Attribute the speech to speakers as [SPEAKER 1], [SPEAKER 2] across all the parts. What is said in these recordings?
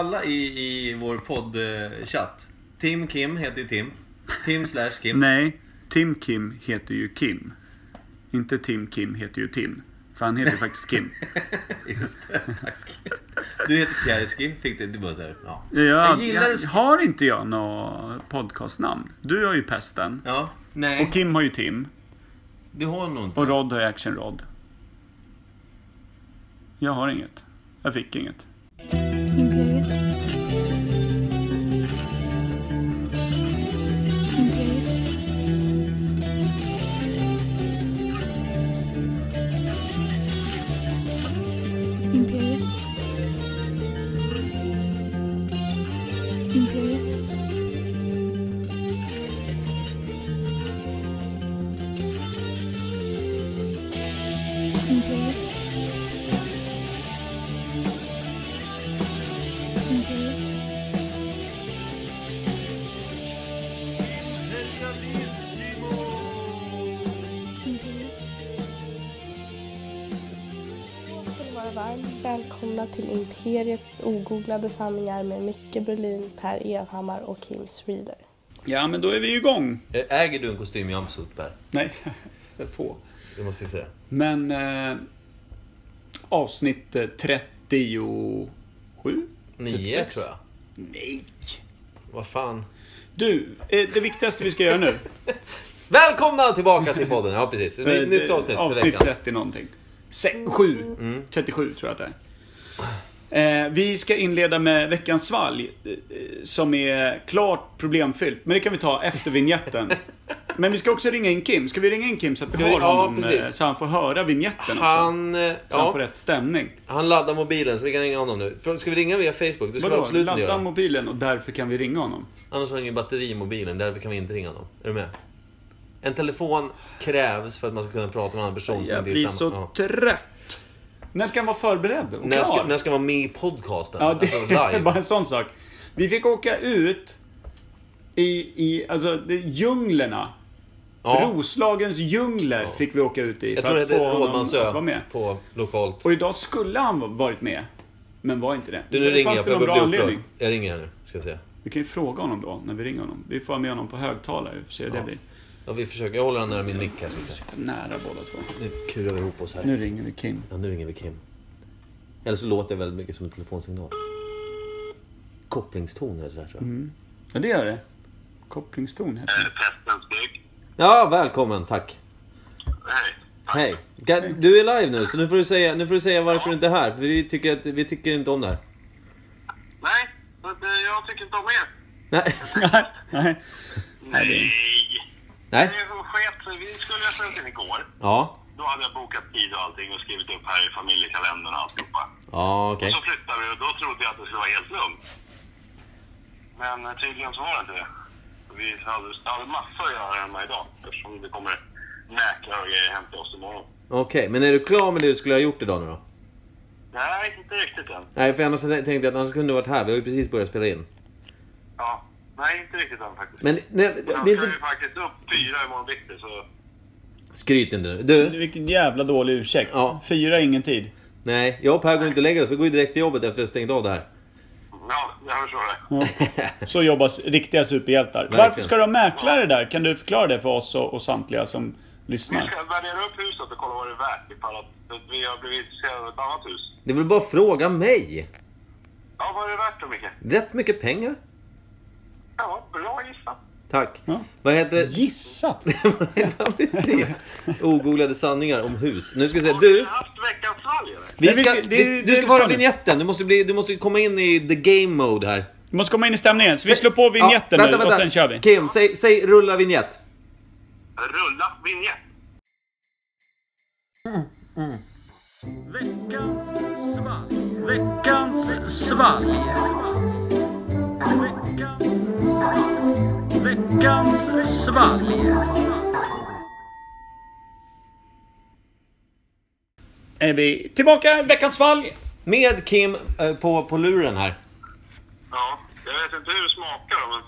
[SPEAKER 1] alla i, i vår poddchatt. Tim Kim heter ju Tim. Tim slash Kim.
[SPEAKER 2] Nej, Tim Kim heter ju Kim. Inte Tim Kim heter ju Tim. För han heter ju faktiskt Kim.
[SPEAKER 1] Just det, tack. Du heter Pjärski, fick det. Du bara såhär, ja.
[SPEAKER 2] Ja,
[SPEAKER 1] Jag gillar
[SPEAKER 2] jag,
[SPEAKER 1] det.
[SPEAKER 2] har inte jag något podcastnamn? Du har ju Pesten.
[SPEAKER 1] Ja, nej.
[SPEAKER 2] Och Kim har ju Tim.
[SPEAKER 1] Du har nog inte.
[SPEAKER 2] Och Rod har ju Action Rod. Jag har inget. Jag fick inget.
[SPEAKER 3] Imperiet. Imperiet. Imperiet. Imperiet. Imperiet. Imperiet. Imperiet.
[SPEAKER 4] Då ska ni vara varmt välkomna till Imperiet ogooglade sanningar med Micke Berlin, Per Evhammar och Kim Schreeder.
[SPEAKER 2] Ja, men då är vi igång.
[SPEAKER 1] Äger du en kostym i Amsut, Per?
[SPEAKER 2] Nej, få.
[SPEAKER 1] Du måste fixa det.
[SPEAKER 2] Men eh, avsnitt eh, 37?
[SPEAKER 1] Nio,
[SPEAKER 2] 36?
[SPEAKER 1] Typ tror jag.
[SPEAKER 2] Nej!
[SPEAKER 1] Vad fan.
[SPEAKER 2] Du, eh, det viktigaste vi ska göra nu.
[SPEAKER 1] Välkomna tillbaka till podden! Ja, precis. Ny,
[SPEAKER 2] eh,
[SPEAKER 1] nytt avsnitt för
[SPEAKER 2] Avsnitt
[SPEAKER 1] veckan. Mm.
[SPEAKER 2] 30 någonting. Se, 7. 37 tror jag att det är. Eh, vi ska inleda med veckans svalg. eh, eh, Som är klart problemfyllt. Men det kan vi ta efter vignetten. Men vi ska också ringa in Kim. Ska vi ringa in Kim så att vi
[SPEAKER 1] Ska vi-
[SPEAKER 2] har
[SPEAKER 1] ja,
[SPEAKER 2] honom eh,
[SPEAKER 1] precis.
[SPEAKER 2] så han får höra vignetten också?
[SPEAKER 1] Han, eh,
[SPEAKER 2] Så han får
[SPEAKER 1] ja,
[SPEAKER 2] rätt stämning.
[SPEAKER 1] han laddar mobilen, så vi kan ringa honom nu. För- Ska vi ringa via Facebook? Det ska vi
[SPEAKER 2] Vadå?
[SPEAKER 1] absolut inte
[SPEAKER 2] Ladda
[SPEAKER 1] göra.
[SPEAKER 2] mobilen och därför kan vi ringa honom.
[SPEAKER 1] Annars har han ingen batteri i mobilen, därför kan vi inte ringa honom. Är du med? En telefon krävs för att man ska kunna prata med en annan person. som
[SPEAKER 2] Jag
[SPEAKER 1] inte är
[SPEAKER 2] blir
[SPEAKER 1] samma-
[SPEAKER 2] så
[SPEAKER 1] ja.
[SPEAKER 2] trött. När ska han vara förberedd och
[SPEAKER 1] När ska,
[SPEAKER 2] klar?
[SPEAKER 1] när ska man vara med i podcasten?
[SPEAKER 2] Ja,
[SPEAKER 1] Alltså,
[SPEAKER 2] det är
[SPEAKER 1] live.
[SPEAKER 2] bara en sån sak. Vi fick åka ut i, i alltså, det- djunglerna.
[SPEAKER 1] Ja,
[SPEAKER 2] Roslagens djungler fick vi åka ut i
[SPEAKER 1] jag tror det
[SPEAKER 2] att
[SPEAKER 1] heter
[SPEAKER 2] få honom att vara
[SPEAKER 1] Rådmansö
[SPEAKER 2] med.
[SPEAKER 1] på lokalt.
[SPEAKER 2] Och idag skulle han varit med, men var inte det.
[SPEAKER 1] Du, nu ringer
[SPEAKER 2] Fanns
[SPEAKER 1] jag för
[SPEAKER 2] det
[SPEAKER 1] jag
[SPEAKER 2] någon bra
[SPEAKER 1] börjar bli upprörd.
[SPEAKER 2] anledning?
[SPEAKER 1] Jag ringer här nu, ska vi se.
[SPEAKER 2] Vi kan ju fråga honom då, när vi ringer honom. Vi får ha med honom på högtalare, vi får se hur det blir.
[SPEAKER 1] Ja, vi försöker. Jag håller han nära min mick här. Ska vi se.
[SPEAKER 2] Sitta nära båda två.
[SPEAKER 1] Nu kurar vi ihop oss här.
[SPEAKER 2] Nu ringer vi Kim.
[SPEAKER 1] Ja, nu ringer vi Kim. Eller så låter jag väldigt mycket som en telefonsignal. Kopplingston heter det där, tror jag.
[SPEAKER 2] Mm. Ja, det gör det. Kopplingston heter det.
[SPEAKER 5] Pestens bygg.
[SPEAKER 1] Ja, välkommen. Tack.
[SPEAKER 5] Hej.
[SPEAKER 1] Hej. Ga- Du är live nu, så nu får du säga, nu får du säga varför du inte är här. För vi tycker, att, vi tycker inte om det här.
[SPEAKER 5] Nej, men, eh, jag tycker inte om er.
[SPEAKER 1] Nej.
[SPEAKER 2] Nej.
[SPEAKER 5] Nej.
[SPEAKER 1] Nej.
[SPEAKER 5] Det som sket sig, vi skulle ha spelat in igår.
[SPEAKER 1] Ja.
[SPEAKER 5] Då hade jag bokat tid och allting och skrivit upp här i familjekalendern och alltihopa.
[SPEAKER 1] Ja, okej.
[SPEAKER 5] Och så flyttade vi och då trodde jag att det skulle vara helt lugnt. Men eh, tydligen så var det inte det. Vi hade, hade massor att göra hemma idag eftersom det kommer mäklare och grejer hem till oss imorgon.
[SPEAKER 1] Okej, men är du klar med det du skulle ha gjort idag nu då?
[SPEAKER 5] Nej, inte riktigt än.
[SPEAKER 1] Nej, för annars tänkte jag att annars kunde du varit här. Vi har ju precis börjat spela in.
[SPEAKER 5] Ja. Nej, inte riktigt än faktiskt.
[SPEAKER 1] Men nej,
[SPEAKER 5] Jag
[SPEAKER 1] det är
[SPEAKER 5] ska ju
[SPEAKER 1] inte...
[SPEAKER 5] faktiskt upp fyra imorgon bitti så...
[SPEAKER 1] Skryt inte nu. Du,
[SPEAKER 2] Vilken jävla dålig ursäkt.
[SPEAKER 1] Ja.
[SPEAKER 2] Fyra, ingen tid.
[SPEAKER 1] nej. Jag och Per går inte och lägger oss. Vi går ju direkt till jobbet efter att ha stängt av det här.
[SPEAKER 5] Ja, jag förstår det.
[SPEAKER 2] Så jobbar riktiga superhjältar. Varför ska du ha mäklare där? Kan du förklara det för oss och, och samtliga som
[SPEAKER 5] Vi
[SPEAKER 2] lyssnar?
[SPEAKER 5] ska värdera upp huset och kolla vad det är värt ifall att att vi har blivit intresserade av ett annat hus.
[SPEAKER 1] Det är väl bara att fråga mig.
[SPEAKER 5] Ja, vad är det värt då Micke?
[SPEAKER 1] Rätt mycket pengar.
[SPEAKER 5] Ja, bra gissat.
[SPEAKER 1] Tack.
[SPEAKER 2] Ja.
[SPEAKER 1] Vad heter det?
[SPEAKER 2] Gissat!
[SPEAKER 1] Ja, precis. Ogooglade sanningar om hus. Nu ska vi se. Eh, Du,
[SPEAKER 5] Har haft veckans svalg eller?
[SPEAKER 1] vi
[SPEAKER 2] Nej, vi
[SPEAKER 1] ska,
[SPEAKER 2] ska- det-
[SPEAKER 1] vi,
[SPEAKER 2] det
[SPEAKER 1] du ska
[SPEAKER 2] vi
[SPEAKER 1] vara
[SPEAKER 2] ska nu.
[SPEAKER 1] vignetten. Du måste, bli, du måste komma in i the game mode här.
[SPEAKER 2] Du måste komma in i stämningen. Så vi slår på vignetten
[SPEAKER 1] Ja,
[SPEAKER 2] nu och sen kör vi.
[SPEAKER 1] Kim, säg, säg rulla vignett.
[SPEAKER 5] Rulla vinjett.
[SPEAKER 2] Veckans svalg. Veckans svalg. Veckans svalg. Är vi tillbaka? Veckans svalg.
[SPEAKER 1] Med Kim eh, på, på luren här.
[SPEAKER 5] Ja, jag vet inte hur det smakar men...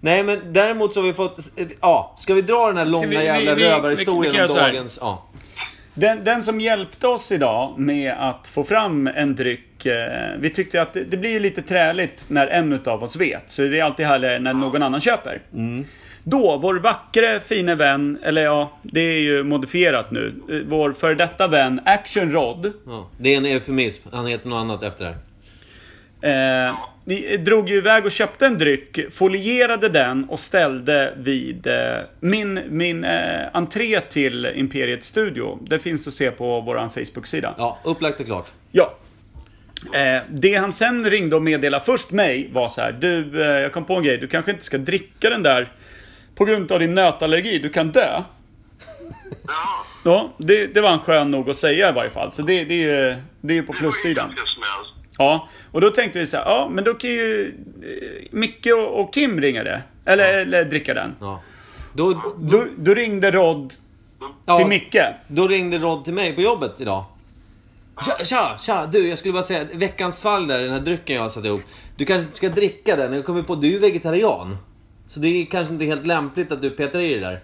[SPEAKER 1] Nej men däremot så har vi fått... eh, Ja, ska vi dra den här långa
[SPEAKER 2] vi- vi-
[SPEAKER 1] jävla
[SPEAKER 2] vi- vi- vi
[SPEAKER 1] rövarhistorien
[SPEAKER 2] kan
[SPEAKER 1] om
[SPEAKER 2] göra så här.
[SPEAKER 1] dagens... Ja.
[SPEAKER 2] Den, den som hjälpte oss idag med att få fram en dryck. Eh, vi tyckte att det, det blir lite träligt när en utav oss vet. Så det är alltid härligare när någon annan köper. Då, vår vackre fine vän, eller ja, det är ju modifierat nu. Eh, Vår före detta vän Action Rod.
[SPEAKER 1] Ja. Det är en eufemism. Han heter något annat efter det här.
[SPEAKER 2] Eh, ni drog ju iväg och köpte en dryck, folierade den och ställde vid eh, min, min eh, entré till Imperiet Studio. Det finns att se på vår Facebook-sida.
[SPEAKER 1] Ja, upplagt och klart.
[SPEAKER 2] Ja. Eh, det han sen ringde och meddelade först mig var så här. Du, eh, jag kom på en grej. Du kanske inte ska dricka den där på grund av din nötallergi. Du kan dö.
[SPEAKER 5] Ja,
[SPEAKER 2] Ja, det, det var han skön nog att säga i varje fall. Så det, det är ju det är ju på
[SPEAKER 5] det var ju
[SPEAKER 2] plussidan.
[SPEAKER 5] ganska snällt.
[SPEAKER 2] Ja, och då tänkte vi så här. Ja, men då kan ju eh, Micke och, och Kim ringa det. Eller, eller dricka den.
[SPEAKER 1] Ja. Då,
[SPEAKER 2] Då, då ringde Rod
[SPEAKER 1] ja,
[SPEAKER 2] till Micke.
[SPEAKER 1] Då ringde Rod till mig på jobbet idag. Tja, tja, tja, du jag skulle bara säga, veckans svalg där, den här drycken jag har satt ihop. Du kanske inte ska dricka den, jag kommer på, du är ju vegetarian. Så det är kanske inte helt lämpligt att du petar i det där.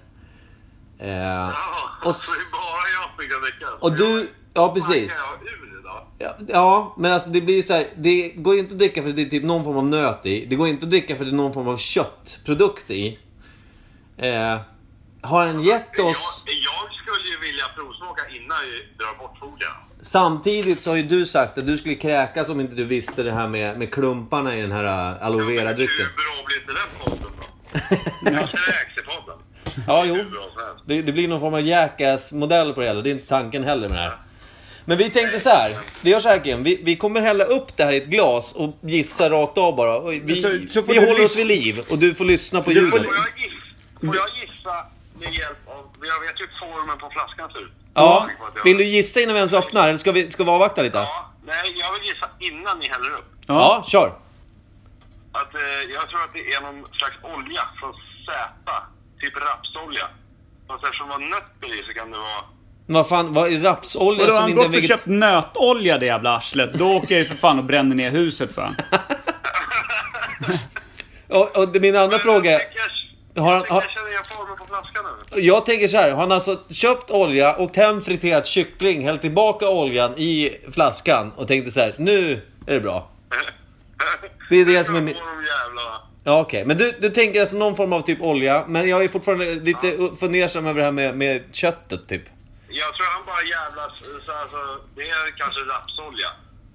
[SPEAKER 1] Eh,
[SPEAKER 5] Ja,
[SPEAKER 1] Och
[SPEAKER 5] så det är bara jag som kan dricka.
[SPEAKER 1] och du, ja precis.
[SPEAKER 5] Jag packar ur idag.
[SPEAKER 1] Ja, Ja, men alltså det blir ju så här, det går inte att dricka för det är typ någon form av nöt i. Det går inte att dricka för det är någon form av köttprodukt i. Eh, har han gett oss...
[SPEAKER 5] Jag, jag skulle ju vilja provsmaka innan vi drar bort fogen.
[SPEAKER 1] Samtidigt så har ju du sagt att du skulle kräkas om inte du visste det här med, med klumparna i den här äh, aloe vera-drycken.
[SPEAKER 5] Hur bra blir inte den podden då? Jag kräks i podden.
[SPEAKER 1] Ja,
[SPEAKER 5] Hur
[SPEAKER 1] jo.
[SPEAKER 5] bra som helst.
[SPEAKER 1] Det, det blir någon form av jackass-modell på det hela. Det är inte tanken heller med det här. Men vi tänkte så här. Vi gör så här Kim. Vi, vi kommer hälla upp det här i ett glas och gissa rakt av bara. Och Vi,
[SPEAKER 2] Så- så får
[SPEAKER 1] vi
[SPEAKER 2] du
[SPEAKER 1] håller oss
[SPEAKER 2] lys-
[SPEAKER 1] vid liv och du får lyssna på
[SPEAKER 2] Du får
[SPEAKER 1] ljudet.
[SPEAKER 5] Får jag, gissa, får jag gissa med hjälp av... Jag vet ju formen på flaskan ser ut.
[SPEAKER 1] Ja.
[SPEAKER 5] Jag-
[SPEAKER 1] Vill du gissa innan vi ens öppnar? Eller ska vi, ska vi avvakta lite? Ja,
[SPEAKER 5] Ja, nej, jag vill gissa innan ni häller upp.
[SPEAKER 1] kör.
[SPEAKER 5] Att, eh, jag tror att det är någon slags olja från Zäta. Typ rapsolja. Fast eftersom det var nötter i så kan det vara...
[SPEAKER 1] Men Vad fan, vad är rapsolja
[SPEAKER 2] Och då
[SPEAKER 1] som
[SPEAKER 2] har han
[SPEAKER 1] inte
[SPEAKER 2] gått
[SPEAKER 1] är
[SPEAKER 2] och
[SPEAKER 1] veget-
[SPEAKER 2] köpt nötolja det jävla arslet. Då åker jag ju för fan och bränner ner huset för han.
[SPEAKER 1] och, och det- min andra fråga är...
[SPEAKER 5] Jag tycker jag-
[SPEAKER 1] Har-
[SPEAKER 5] jag tycker
[SPEAKER 1] har-
[SPEAKER 5] jag känner igen formen på flaskan nu.
[SPEAKER 1] Jag tänker så här, har han alltså köpt olja, åkt hem, friterat kyckling, hällt tillbaka oljan i flaskan och tänkte så här, nu är det bra. Det är det som är min-
[SPEAKER 5] På de jävla...
[SPEAKER 1] Ja okej, men du, du tänker alltså någon form av typ olja, men jag är fortfarande lite fundersam över det här med, med köttet typ.
[SPEAKER 5] Jag tror han bara jävlas. Så alltså, det är kanske rapsolja.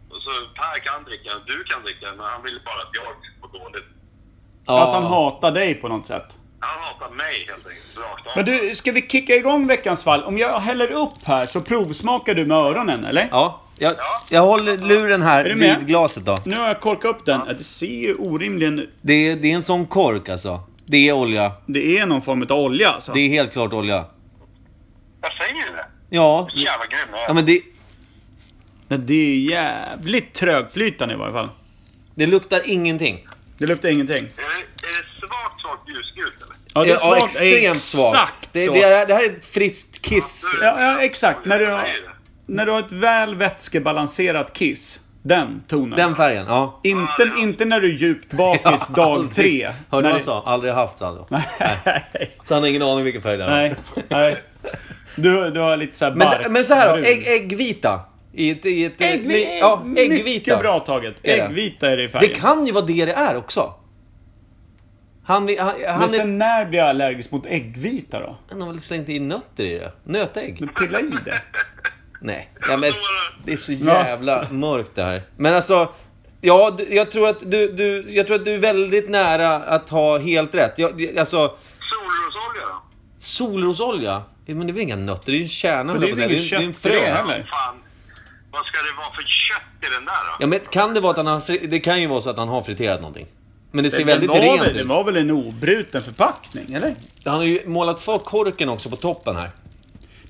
[SPEAKER 5] Och så Per kan dricka den, du kan dricka den, men han vill bara att jag mår dåligt.
[SPEAKER 1] Ja.
[SPEAKER 2] Att han hatar dig på något sätt.
[SPEAKER 5] Han hatar mig helt enkelt, rakt av.
[SPEAKER 2] Men du, ska vi kicka igång veckans fall? Om jag häller upp här så provsmakar du med öronen, eller?
[SPEAKER 1] Ja, jag, jag håller luren här
[SPEAKER 2] Är du med?
[SPEAKER 1] vid glaset då.
[SPEAKER 2] Nu har jag korkat upp den. Ja, Det ser ju orimligen ut.
[SPEAKER 1] Det är, det är en sån kork alltså. Det är olja.
[SPEAKER 2] Det är någon form av olja alltså.
[SPEAKER 1] Det är helt klart olja.
[SPEAKER 5] Jag säger det!
[SPEAKER 1] Ja,
[SPEAKER 5] Jävla grym jag är.
[SPEAKER 1] ja men det,
[SPEAKER 2] Ja, det är jävligt trögflytande i varje fall.
[SPEAKER 1] det luktar ingenting.
[SPEAKER 2] Det luktar ingenting.
[SPEAKER 5] Är det, är det svagt, svagt ljusgult eller?
[SPEAKER 2] Ja, det är svagt.
[SPEAKER 1] extremt svagt.
[SPEAKER 2] Exakt
[SPEAKER 1] det,
[SPEAKER 2] så.
[SPEAKER 1] det, är, det här är ett friskt kiss.
[SPEAKER 2] Ja, ja, exakt. När du, har,
[SPEAKER 5] Nej, det-
[SPEAKER 2] när du har ett väl vätskebalanserat kiss. Den tonen.
[SPEAKER 1] Den färgen, ja.
[SPEAKER 2] Inte, inte när du är djupt bakis dag
[SPEAKER 1] Aldrig-
[SPEAKER 2] tre.
[SPEAKER 1] Hörde du
[SPEAKER 2] när
[SPEAKER 1] vad han
[SPEAKER 2] det-
[SPEAKER 1] sa? Aldrig haft, sa han då.
[SPEAKER 2] Nej.
[SPEAKER 1] Så han har ingen aning vilken färg det är.
[SPEAKER 2] Nej. Nej. Du, du har lite såhär bark.
[SPEAKER 1] Men, men så här då,
[SPEAKER 2] brun.
[SPEAKER 1] ägg, äggvita. I ett, i ett,
[SPEAKER 2] Ägg,
[SPEAKER 1] ni- ja, äggvita.
[SPEAKER 2] Mycket bra taget.
[SPEAKER 1] Är det?
[SPEAKER 2] Äggvita är det i
[SPEAKER 1] Det
[SPEAKER 2] färgen.
[SPEAKER 1] kan ju vara det det är också. Han, han, han,
[SPEAKER 2] men
[SPEAKER 1] är,
[SPEAKER 2] sen när blir jag allergisk mot äggvita då?
[SPEAKER 1] han har väl slängt in nötter i det? Nötägg?
[SPEAKER 2] Men pilla i det.
[SPEAKER 1] Nej. Ja, men, det är så
[SPEAKER 2] Ja.
[SPEAKER 1] jävla mörkt det här. Men alltså, ja, du- jag tror att du, du, jag tror att du är väldigt nära att ha helt rätt. Jag, jag- alltså,
[SPEAKER 5] Solrosolja då?
[SPEAKER 1] solrosolja? Ja, Men det är väl inga nötter? Det är ju en kärna.
[SPEAKER 2] Men det är
[SPEAKER 1] höll
[SPEAKER 2] väl
[SPEAKER 1] jag på att
[SPEAKER 2] inget
[SPEAKER 1] säga.
[SPEAKER 2] kött
[SPEAKER 1] det är
[SPEAKER 2] för
[SPEAKER 1] en
[SPEAKER 2] det
[SPEAKER 1] frö.
[SPEAKER 2] heller?
[SPEAKER 5] Fan, vad ska det vara för kött i den där då?
[SPEAKER 1] Ja, men kan det vara att han har, fri- det kan ju vara så att han har friterat någonting. Men det ser
[SPEAKER 2] Den
[SPEAKER 1] väldigt
[SPEAKER 2] var,
[SPEAKER 1] rent
[SPEAKER 2] väl,
[SPEAKER 1] ut.
[SPEAKER 2] den var väl en obruten förpackning, eller?
[SPEAKER 1] Han har ju målat för korken också på toppen här.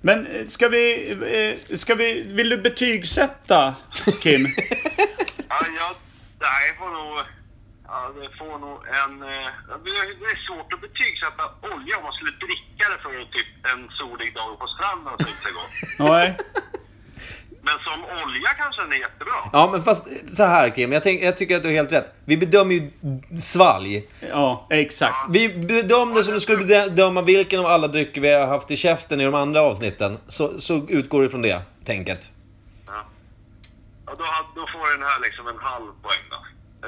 [SPEAKER 2] Men eh, ska vi... eh, Ska vi... Vill du betygsätta, Kim?
[SPEAKER 5] Ja, jag, det här får nog... Ja, det får nog en... eh, Det är- det är svårt att betygsätta olja om man skulle dricka det för typ en solig dag på stranden och tycka sig gott.
[SPEAKER 2] Nej.
[SPEAKER 5] typ Men som olja kanske den är jättebra.
[SPEAKER 1] Ja, men fast så här Kim, jag, tänk, jag tycker att du har helt rätt. Vi bedömer ju svalg.
[SPEAKER 2] Ja, exakt.
[SPEAKER 1] Vi bedömde som du skulle bedöma vilken av alla drycker vi har haft i käften i de andra avsnitten. Så, så utgår du från det tänket.
[SPEAKER 5] Ja. Ja, då, har- då får den här liksom en halv poäng då.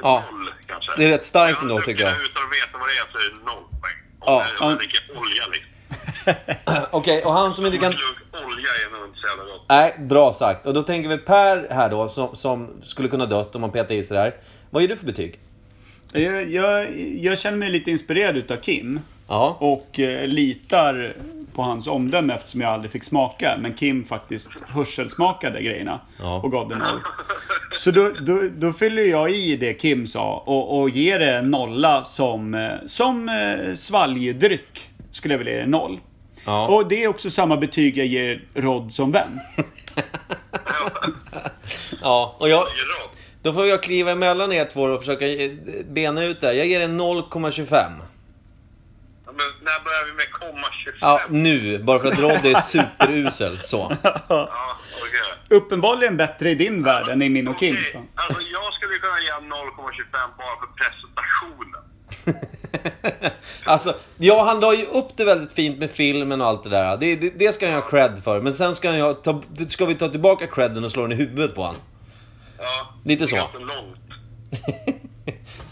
[SPEAKER 5] En
[SPEAKER 1] Ja.
[SPEAKER 5] noll kanske.
[SPEAKER 1] Det är rätt starkt ändå,
[SPEAKER 5] Jag
[SPEAKER 1] tycker jag.
[SPEAKER 5] Utan att veta vad det är så är det noll poäng. Om
[SPEAKER 1] Ja,
[SPEAKER 5] jag
[SPEAKER 2] ja.
[SPEAKER 5] dricker olja liksom.
[SPEAKER 1] Okej, och han som inte
[SPEAKER 5] En
[SPEAKER 1] kan...
[SPEAKER 5] klunk olja är nog inte så jävla gott.
[SPEAKER 1] Nej, bra sagt. Och då tänker vi Per här då, som, som skulle kunna dött om man petade i sig det här. Vad ger du för betyg?
[SPEAKER 2] Jag, jag, jag känner mig lite inspirerad utav Kim.
[SPEAKER 1] Ja.
[SPEAKER 2] Och eh, litar på hans omdöme eftersom jag aldrig fick smaka. Men Kim faktiskt hörselsmakade grejerna
[SPEAKER 1] Ja.
[SPEAKER 2] och gav det noll. Så då, då, då fyller jag i det Kim sa och, och ger det en nolla som, eh, som eh, svalgdryck. Skulle jag vilja ge det noll.
[SPEAKER 1] Ja.
[SPEAKER 2] Och det är också samma betyg jag ger Rod som vän.
[SPEAKER 1] ja. Och jag,
[SPEAKER 5] Det är rakt.
[SPEAKER 1] då får jag kliva emellan er två och försöka eh, bena ut det här. Jag ger en 0,25.
[SPEAKER 5] Ja, Men när börjar vi med komma 25?
[SPEAKER 1] Ja,
[SPEAKER 5] Ja,
[SPEAKER 1] nu. Bara för att Roddy är superusel. Så.
[SPEAKER 5] okej.
[SPEAKER 2] Uppenbarligen bättre i din värld än i min och Kims. Då.
[SPEAKER 5] Okej, Alltså jag skulle kunna ge 0,25 bara för presentationen.
[SPEAKER 1] Alltså, ja, han la ju upp det väldigt fint med filmen och allt det där. Det, det, det ska han ju ha cred för. Men sen ska, han ju ha, ta, ska vi ta tillbaka credden och slå den i huvudet på honom.
[SPEAKER 5] Ja,
[SPEAKER 1] Lite
[SPEAKER 5] det
[SPEAKER 1] så.
[SPEAKER 5] är ganska långt.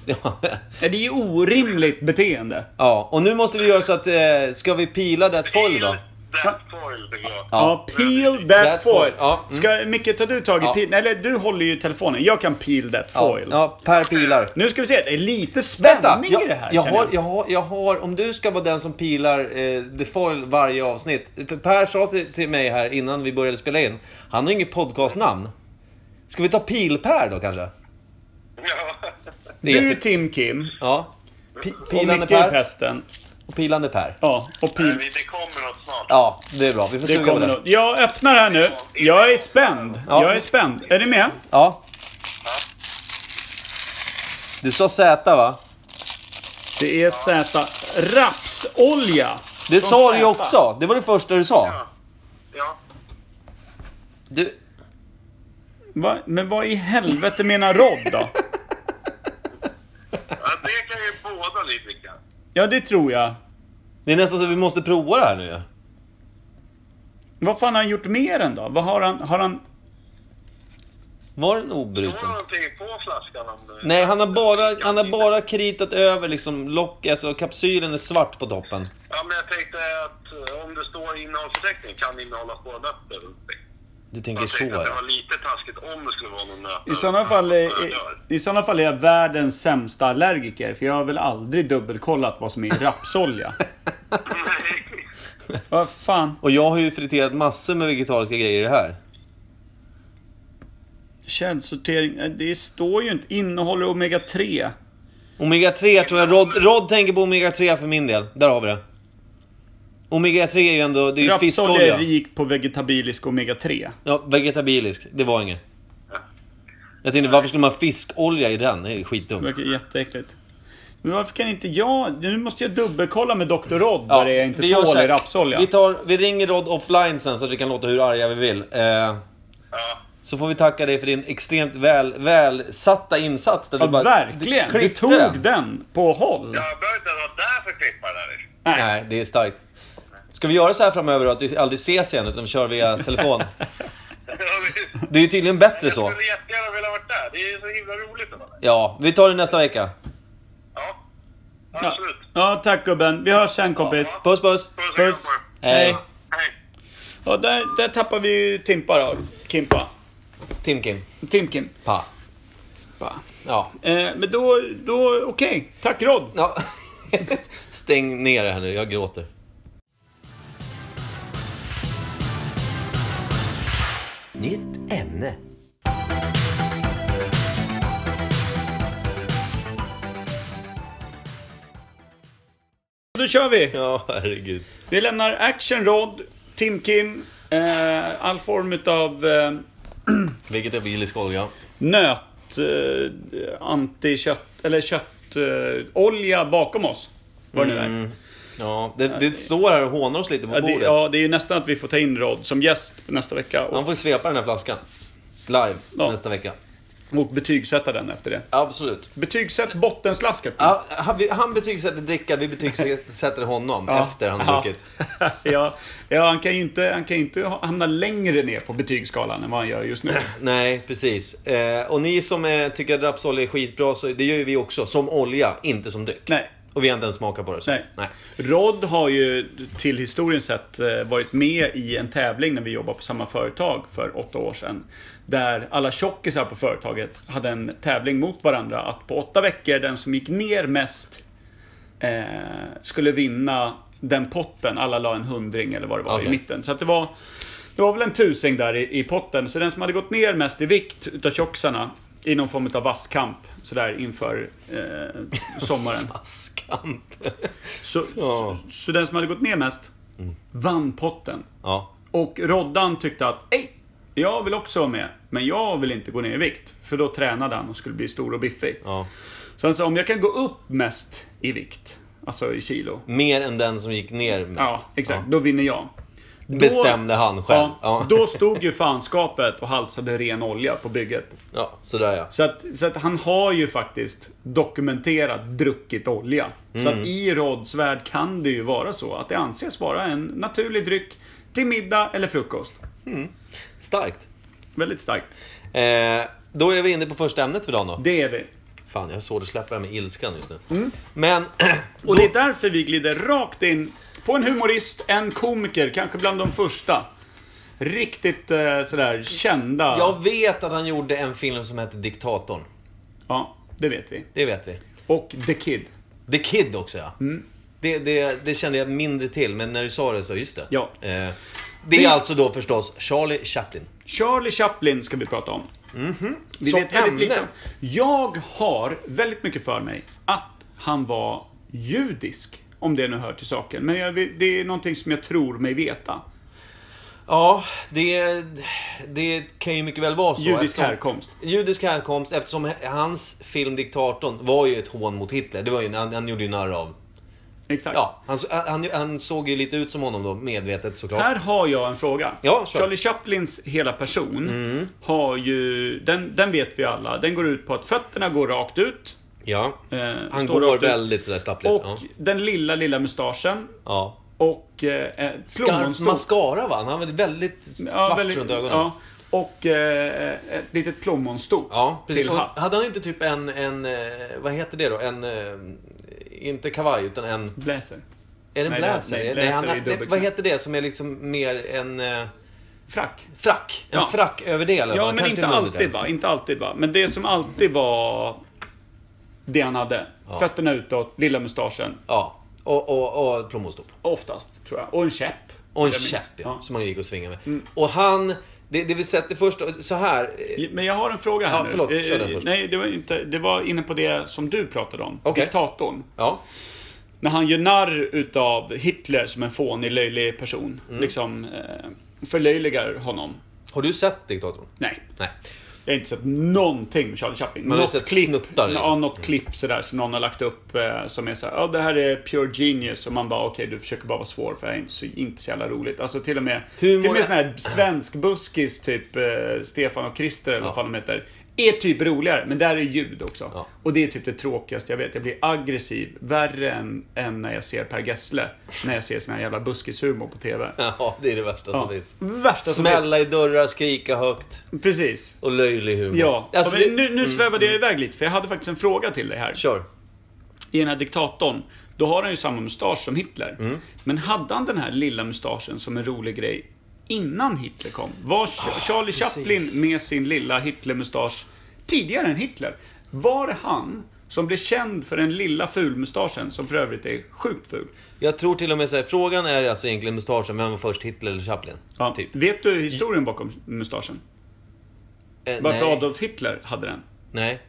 [SPEAKER 1] Ja.
[SPEAKER 2] Ja, Det är ju orimligt beteende.
[SPEAKER 1] ja, och nu måste vi göra så att... Eh, ska vi pila det foil då?
[SPEAKER 5] That foil tycker jag.
[SPEAKER 2] Ja, peel that,
[SPEAKER 1] That
[SPEAKER 2] foil.
[SPEAKER 1] foil, ja. Mm.
[SPEAKER 2] Ska, Micke, tar du tag i
[SPEAKER 1] Ja.
[SPEAKER 2] peel? Eller du håller ju telefonen. Jag kan peel that
[SPEAKER 1] Ja,
[SPEAKER 2] foil.
[SPEAKER 1] ja, Per pilar.
[SPEAKER 2] Nu ska vi se, det är lite
[SPEAKER 1] Vänta!
[SPEAKER 2] spänning i
[SPEAKER 1] Jag,
[SPEAKER 2] det här
[SPEAKER 1] jag,
[SPEAKER 2] känner
[SPEAKER 1] har, jag, har, jag har... Om du ska vara den som pilar eh, the foil varje avsnitt. För Per sa till, till mig här innan vi började spela in. Han har inget podcastnamn. Ska vi ta pil-Per då kanske?
[SPEAKER 5] Ja.
[SPEAKER 1] Det är
[SPEAKER 2] Du
[SPEAKER 1] jätte-
[SPEAKER 2] Tim Kim
[SPEAKER 1] Ja. Pi-
[SPEAKER 2] och
[SPEAKER 1] pilande
[SPEAKER 2] Micke är
[SPEAKER 1] Per.
[SPEAKER 2] pesten.
[SPEAKER 1] Och pilande Per.
[SPEAKER 2] Ja, och
[SPEAKER 5] Nej,
[SPEAKER 2] peel.
[SPEAKER 5] vi- Det kommer något snart.
[SPEAKER 1] Ja, det är bra. Vi får
[SPEAKER 2] Det
[SPEAKER 1] suga på
[SPEAKER 2] kommer
[SPEAKER 1] det.
[SPEAKER 2] nog. Jag öppnar här nu. Jag är spänd.
[SPEAKER 1] Ja.
[SPEAKER 2] Jag är spänd. Är ni med?
[SPEAKER 1] Ja. Du sa Z va?
[SPEAKER 2] Det är Z. Rapsolja.
[SPEAKER 1] Det
[SPEAKER 2] Från
[SPEAKER 1] sa du ju
[SPEAKER 2] Zäta.
[SPEAKER 1] också. Det var det första du sa.
[SPEAKER 5] Ja. Ja.
[SPEAKER 1] Du...
[SPEAKER 2] Va? Men vad i helvete menar Rod då?
[SPEAKER 5] ja, det kan ju båda ni dricka.
[SPEAKER 2] Ja, det tror jag.
[SPEAKER 1] Det är nästan så vi måste prova det här nu ju.
[SPEAKER 2] Vad fan har han gjort mer än då? Vad har han... Har han...
[SPEAKER 1] Var den
[SPEAKER 5] Det var
[SPEAKER 1] obruten?
[SPEAKER 5] någonting på flaskan om eh, du...
[SPEAKER 1] Nej, han har bara, han har bara kritat över liksom lock, alltså kapsylen är svart på toppen.
[SPEAKER 5] Ja, men jag tänkte att eh, om det står innehållsförteckning kan det innehålla två nötter. eller någonting.
[SPEAKER 1] Du tänker
[SPEAKER 5] Jag
[SPEAKER 1] så
[SPEAKER 5] tänkte att det var
[SPEAKER 1] ja.
[SPEAKER 5] lite taskigt om det skulle vara någon nöt.
[SPEAKER 2] I sådana fall, är,
[SPEAKER 5] Jag
[SPEAKER 2] i,
[SPEAKER 5] dör.
[SPEAKER 2] I sådana fall är jag världens sämsta allergiker. För jag har väl aldrig dubbelkollat vad som är i rapsolja.
[SPEAKER 5] Nej.
[SPEAKER 2] vad fan?
[SPEAKER 1] Och jag har ju friterat massor med vegetariska grejer i det här.
[SPEAKER 2] Källsortering. eh, Det står ju inte. Innehåller omega 3.
[SPEAKER 1] Omega 3 tror jag, Rod, Rod tänker på omega 3 för min del. Där har vi det. Omega 3 är ju ändå, det är ju
[SPEAKER 2] Rapsolja är
[SPEAKER 1] fiskolja.
[SPEAKER 2] rik på vegetabilisk omega 3.
[SPEAKER 1] Ja, vegetabilisk. Det var inget. Jag tänkte, varför skulle man ha fiskolja i den? Det är ju
[SPEAKER 2] Det
[SPEAKER 1] skitdumt.
[SPEAKER 2] verkar jätteäckligt. Men varför kan inte jag... Nu måste jag dubbelkolla med Dr. Rod vad det är jag inte
[SPEAKER 1] vi gör så
[SPEAKER 2] tål
[SPEAKER 1] här.
[SPEAKER 2] i rapsolja.
[SPEAKER 1] Vi, tar, vi ringer Rod offline sen så att vi kan låta hur arga vi vill. Eh,
[SPEAKER 5] Ja.
[SPEAKER 1] så får vi tacka dig för din extremt väl, välsatta insats. Där
[SPEAKER 2] Ja,
[SPEAKER 1] du bara,
[SPEAKER 2] verkligen! Du
[SPEAKER 1] klippte
[SPEAKER 2] tog den. på håll.
[SPEAKER 5] Jag behöver inte vara där för klipparen. här.
[SPEAKER 1] Nej, det är starkt. Ska vi göra så här framöver då, att vi aldrig ses igen utan vi kör via telefon?
[SPEAKER 5] Ja, visst.
[SPEAKER 1] Det är ju tydligen bättre så.
[SPEAKER 5] Jag skulle jättegärna vilja varit där. Det är ju så himla roligt att vara där.
[SPEAKER 1] Ja, vi tar det nästa vecka.
[SPEAKER 5] Ja,
[SPEAKER 2] Ja.
[SPEAKER 5] absolut.
[SPEAKER 2] ja, tack gubben. Vi hörs sen kompis.
[SPEAKER 1] Puss puss!
[SPEAKER 5] Puss och
[SPEAKER 2] Puss.
[SPEAKER 5] kram på er.
[SPEAKER 1] Hej!
[SPEAKER 5] Hej.
[SPEAKER 2] Ja, där, där tappar vi ju Timpa då. Kimpa.
[SPEAKER 1] Tim Kim.
[SPEAKER 2] Tim-Kim.
[SPEAKER 1] Pa. Ja.
[SPEAKER 2] Eh, men då, då okej. Tack Rod.
[SPEAKER 1] ja. Stäng ner det här nu, jag gråter. Nytt ämne.
[SPEAKER 2] Då kör vi.
[SPEAKER 1] Ja, herregud.
[SPEAKER 2] Vi lämnar Action Rod, Tim-Kim, eh, all form utav eh,
[SPEAKER 1] Vegetabilisk olja.
[SPEAKER 2] nöt, eh, anti-kött, eller köttolja eh, olja bakom oss. Vad det nu är.
[SPEAKER 1] Ja, det, det står här och hånar oss lite Mm. på
[SPEAKER 2] Ja det,
[SPEAKER 1] bordet.
[SPEAKER 2] ja, det är ju nästan att vi får ta in Rod som gäst nästa vecka
[SPEAKER 1] Han
[SPEAKER 2] och,
[SPEAKER 1] får ju svepa den här flaskan. Live
[SPEAKER 2] Ja.
[SPEAKER 1] nästa vecka.
[SPEAKER 2] och betygsätta den efter det.
[SPEAKER 1] Absolut.
[SPEAKER 2] Betygsätt bottenslaskar.
[SPEAKER 1] Ja, han, vi- han betygsätter drickan, vi betygsätter honom efter han har
[SPEAKER 2] Ja.
[SPEAKER 1] druckit.
[SPEAKER 2] ja, ja, han kan ju inte, han kan ju inte ha- hamna längre ner på betygsskalan än vad han gör just nu.
[SPEAKER 1] Nej, precis. Eh, och ni som eh, tycker att rapsolja är skitbra, så det gör ju vi också. Som olja, inte som dryck.
[SPEAKER 2] Nej.
[SPEAKER 1] Och vi har inte ens smakat på det. Så.
[SPEAKER 2] Alltså, Nej. Rod har ju till historien sett eh, varit med i en tävling när vi jobbade på samma företag för åtta år sedan. Där alla tjockisar på företaget hade en tävling mot varandra att på åtta veckor, den som gick ner mest eh, skulle vinna den potten. Alla la en hundring eller vad det var i
[SPEAKER 1] Okej.
[SPEAKER 2] mitten. Så att det var det var väl en tusing där i, i potten. Så den som hade gått ner mest i vikt utav tjockisarna i någon form av vasskamp sådär inför eh, sommaren.
[SPEAKER 1] Askamp.
[SPEAKER 2] Så,
[SPEAKER 1] Ja.
[SPEAKER 2] så, så den som hade gått ner mest vann potten.
[SPEAKER 1] ja.
[SPEAKER 2] Och Roddan tyckte att Ej, jag vill också vara med, men jag vill inte gå ner i vikt. För då tränade han och skulle bli stor och biffig.
[SPEAKER 1] ja.
[SPEAKER 2] Så han sa, om jag kan gå upp mest i vikt, alltså i kilo.
[SPEAKER 1] Mer än den som gick ner mest.
[SPEAKER 2] Ja, exakt. Då vinner jag. Då-
[SPEAKER 1] Bestämde han själv.
[SPEAKER 2] Ja,
[SPEAKER 1] Ja.
[SPEAKER 2] Då stod ju fanskapet och halsade ren olja på bygget.
[SPEAKER 1] Ja, sådär ja.
[SPEAKER 2] Så att, så att han har ju faktiskt dokumenterat druckit olja. Så att i Rods värld kan det ju vara så att det anses vara en naturlig dryck till middag eller frukost.
[SPEAKER 1] Starkt.
[SPEAKER 2] Väldigt starkt.
[SPEAKER 1] Eh, då är vi inne på första ämnet för dagen då.
[SPEAKER 2] Det är vi.
[SPEAKER 1] Fan, jag har svårt att släppa det här med ilskan just nu.
[SPEAKER 2] Mm.
[SPEAKER 1] Men...
[SPEAKER 2] Och det är därför vi glider rakt in på en humorist, en komiker, kanske bland de första. Riktigt eh, sådär kända.
[SPEAKER 1] Jag vet att han gjorde en film som hette Diktatorn.
[SPEAKER 2] Ja, det vet vi.
[SPEAKER 1] Det vet vi.
[SPEAKER 2] Och The Kid.
[SPEAKER 1] The Kid också ja. Det, det, det kände jag mindre till, men när du sa det så, just det.
[SPEAKER 2] Ja.
[SPEAKER 1] Eh, det är
[SPEAKER 2] Det-
[SPEAKER 1] alltså då förstås Charlie Chaplin.
[SPEAKER 2] Charlie Chaplin ska vi prata om. Vi
[SPEAKER 1] Mhm. Som
[SPEAKER 2] vet väldigt
[SPEAKER 1] ämne.
[SPEAKER 2] lite. om- Jag har väldigt mycket för mig att han var judisk. Om det nu hör till saken. Men jag, vill- det är någonting som jag tror mig veta.
[SPEAKER 1] Ja, det, det kan ju mycket väl vara så.
[SPEAKER 2] Judisk
[SPEAKER 1] eftersom-
[SPEAKER 2] härkomst.
[SPEAKER 1] Judisk härkomst eftersom hans film Diktatorn var ju ett hån mot Hitler. Det var ju, han, han gjorde ju narr av...
[SPEAKER 2] Exakt.
[SPEAKER 1] Ja, han, han, han såg ju lite ut som honom då, medvetet såklart.
[SPEAKER 2] Här har jag en fråga.
[SPEAKER 1] Ja, kör. Mm.
[SPEAKER 2] Charlie Chaplins hela person har ju... Den, den vet vi alla. Den går ut på att fötterna går rakt ut.
[SPEAKER 1] Ja.
[SPEAKER 2] eh,
[SPEAKER 1] Han går
[SPEAKER 2] står rakt ut.
[SPEAKER 1] väldigt sådär stappligt.
[SPEAKER 2] Och
[SPEAKER 1] ja.
[SPEAKER 2] den lilla, lilla mustaschen.
[SPEAKER 1] Ja.
[SPEAKER 2] Och eh, ett
[SPEAKER 1] Skarp
[SPEAKER 2] plommonstort
[SPEAKER 1] mascara va? Han hade väldigt svart
[SPEAKER 2] Ja, väldigt-
[SPEAKER 1] runt ögonen.
[SPEAKER 2] Ja, och eh, ett litet plommonstort
[SPEAKER 1] Ja, precis.
[SPEAKER 2] till
[SPEAKER 1] Och
[SPEAKER 2] hatt.
[SPEAKER 1] hade han inte typ en, en, eh, vad heter det då? En, eh, inte kavaj utan en,
[SPEAKER 2] Blazer.
[SPEAKER 1] är det en
[SPEAKER 2] Nej,
[SPEAKER 1] blazer?
[SPEAKER 2] nej,
[SPEAKER 1] Nej,
[SPEAKER 2] blazer
[SPEAKER 1] han,
[SPEAKER 2] är ju
[SPEAKER 1] nej,
[SPEAKER 2] dubbelknapp.
[SPEAKER 1] vad heter det som är liksom mer en eh,
[SPEAKER 2] Frack.
[SPEAKER 1] frack? En
[SPEAKER 2] Ja.
[SPEAKER 1] frack över det eller
[SPEAKER 2] Ja,
[SPEAKER 1] vad?
[SPEAKER 2] men
[SPEAKER 1] Kanske
[SPEAKER 2] inte
[SPEAKER 1] till och med
[SPEAKER 2] alltid
[SPEAKER 1] det.
[SPEAKER 2] va. Inte alltid va. Men det som alltid var det han hade. Fötterna utåt, lilla mustaschen.
[SPEAKER 1] Ja, och, och, och plommonstop.
[SPEAKER 2] Oftast, tror jag. Och en käpp.
[SPEAKER 1] Och en
[SPEAKER 2] Jag minns.
[SPEAKER 1] käpp ja, som han gick och svingade med.
[SPEAKER 2] Mm.
[SPEAKER 1] Och han, det, det vi sätter först, så här. eh,
[SPEAKER 2] Men jag har en fråga här
[SPEAKER 1] Ja,
[SPEAKER 2] nu.
[SPEAKER 1] förlåt. Kör den
[SPEAKER 2] Eh,
[SPEAKER 1] först.
[SPEAKER 2] Nej, det var inte... Det var inne på det som du pratade om.
[SPEAKER 1] Okej.
[SPEAKER 2] Diktatorn.
[SPEAKER 1] Ja,
[SPEAKER 2] När han gör narr utav Hitler som en fånig, löjlig person.
[SPEAKER 1] Mm.
[SPEAKER 2] Liksom eh, förlöjligar honom.
[SPEAKER 1] har du sett Diktatorn?
[SPEAKER 2] Nej,
[SPEAKER 1] Nej.
[SPEAKER 2] Jag har inte sett någonting med Charlie Chaplin.
[SPEAKER 1] har
[SPEAKER 2] något
[SPEAKER 1] sett
[SPEAKER 2] klipp,
[SPEAKER 1] snuttar, liksom.
[SPEAKER 2] ja, något klipp sådär som någon har lagt upp eh, som är såhär, ja det här är pure genius. Och man bara, okej du försöker bara vara svår för det här är inte så, inte så jävla roligt. Alltså till och med,
[SPEAKER 1] Humor-
[SPEAKER 2] till och med sån här svensk buskis, typ eh, Stefan och Christer eller vad fan de heter. Är typ roligare, men där är ljud också.
[SPEAKER 1] Ja.
[SPEAKER 2] Och det är typ det tråkigaste jag vet. Jag blir aggressiv, värre än, än när jag ser Per Gessle. När jag ser sån här jävla buskishumor på TV.
[SPEAKER 1] Ja, det är det värsta som
[SPEAKER 2] Ja.
[SPEAKER 1] finns.
[SPEAKER 2] Värsta som
[SPEAKER 1] Smälla i dörrar, skrika högt
[SPEAKER 2] Precis.
[SPEAKER 1] och löjlig humor.
[SPEAKER 2] Ja,
[SPEAKER 1] alltså,
[SPEAKER 2] men
[SPEAKER 1] det,
[SPEAKER 2] nu, nu svävade jag iväg lite för jag hade faktiskt en fråga till dig här.
[SPEAKER 1] Kör.
[SPEAKER 2] I den här diktatorn, då har han ju samma mustasch som Hitler.
[SPEAKER 1] Mm.
[SPEAKER 2] Men hade han den här lilla mustaschen som en rolig grej innan Hitler kom? Var
[SPEAKER 1] Ah,
[SPEAKER 2] Ch- Charlie Chaplin med sin lilla Hitler-mustasch tidigare än Hitler? Var det han som blev känd för den lilla fulmustaschen, som för övrigt är sjukt ful?
[SPEAKER 1] Jag tror till och med så här, frågan är alltså egentligen mustaschen, vem var först Hitler eller Chaplin?
[SPEAKER 2] Ja,
[SPEAKER 1] Typ.
[SPEAKER 2] Vet du historien bakom mustaschen?
[SPEAKER 1] Eh,
[SPEAKER 2] Varför
[SPEAKER 1] nej.
[SPEAKER 2] Adolf Hitler hade den?
[SPEAKER 1] nej.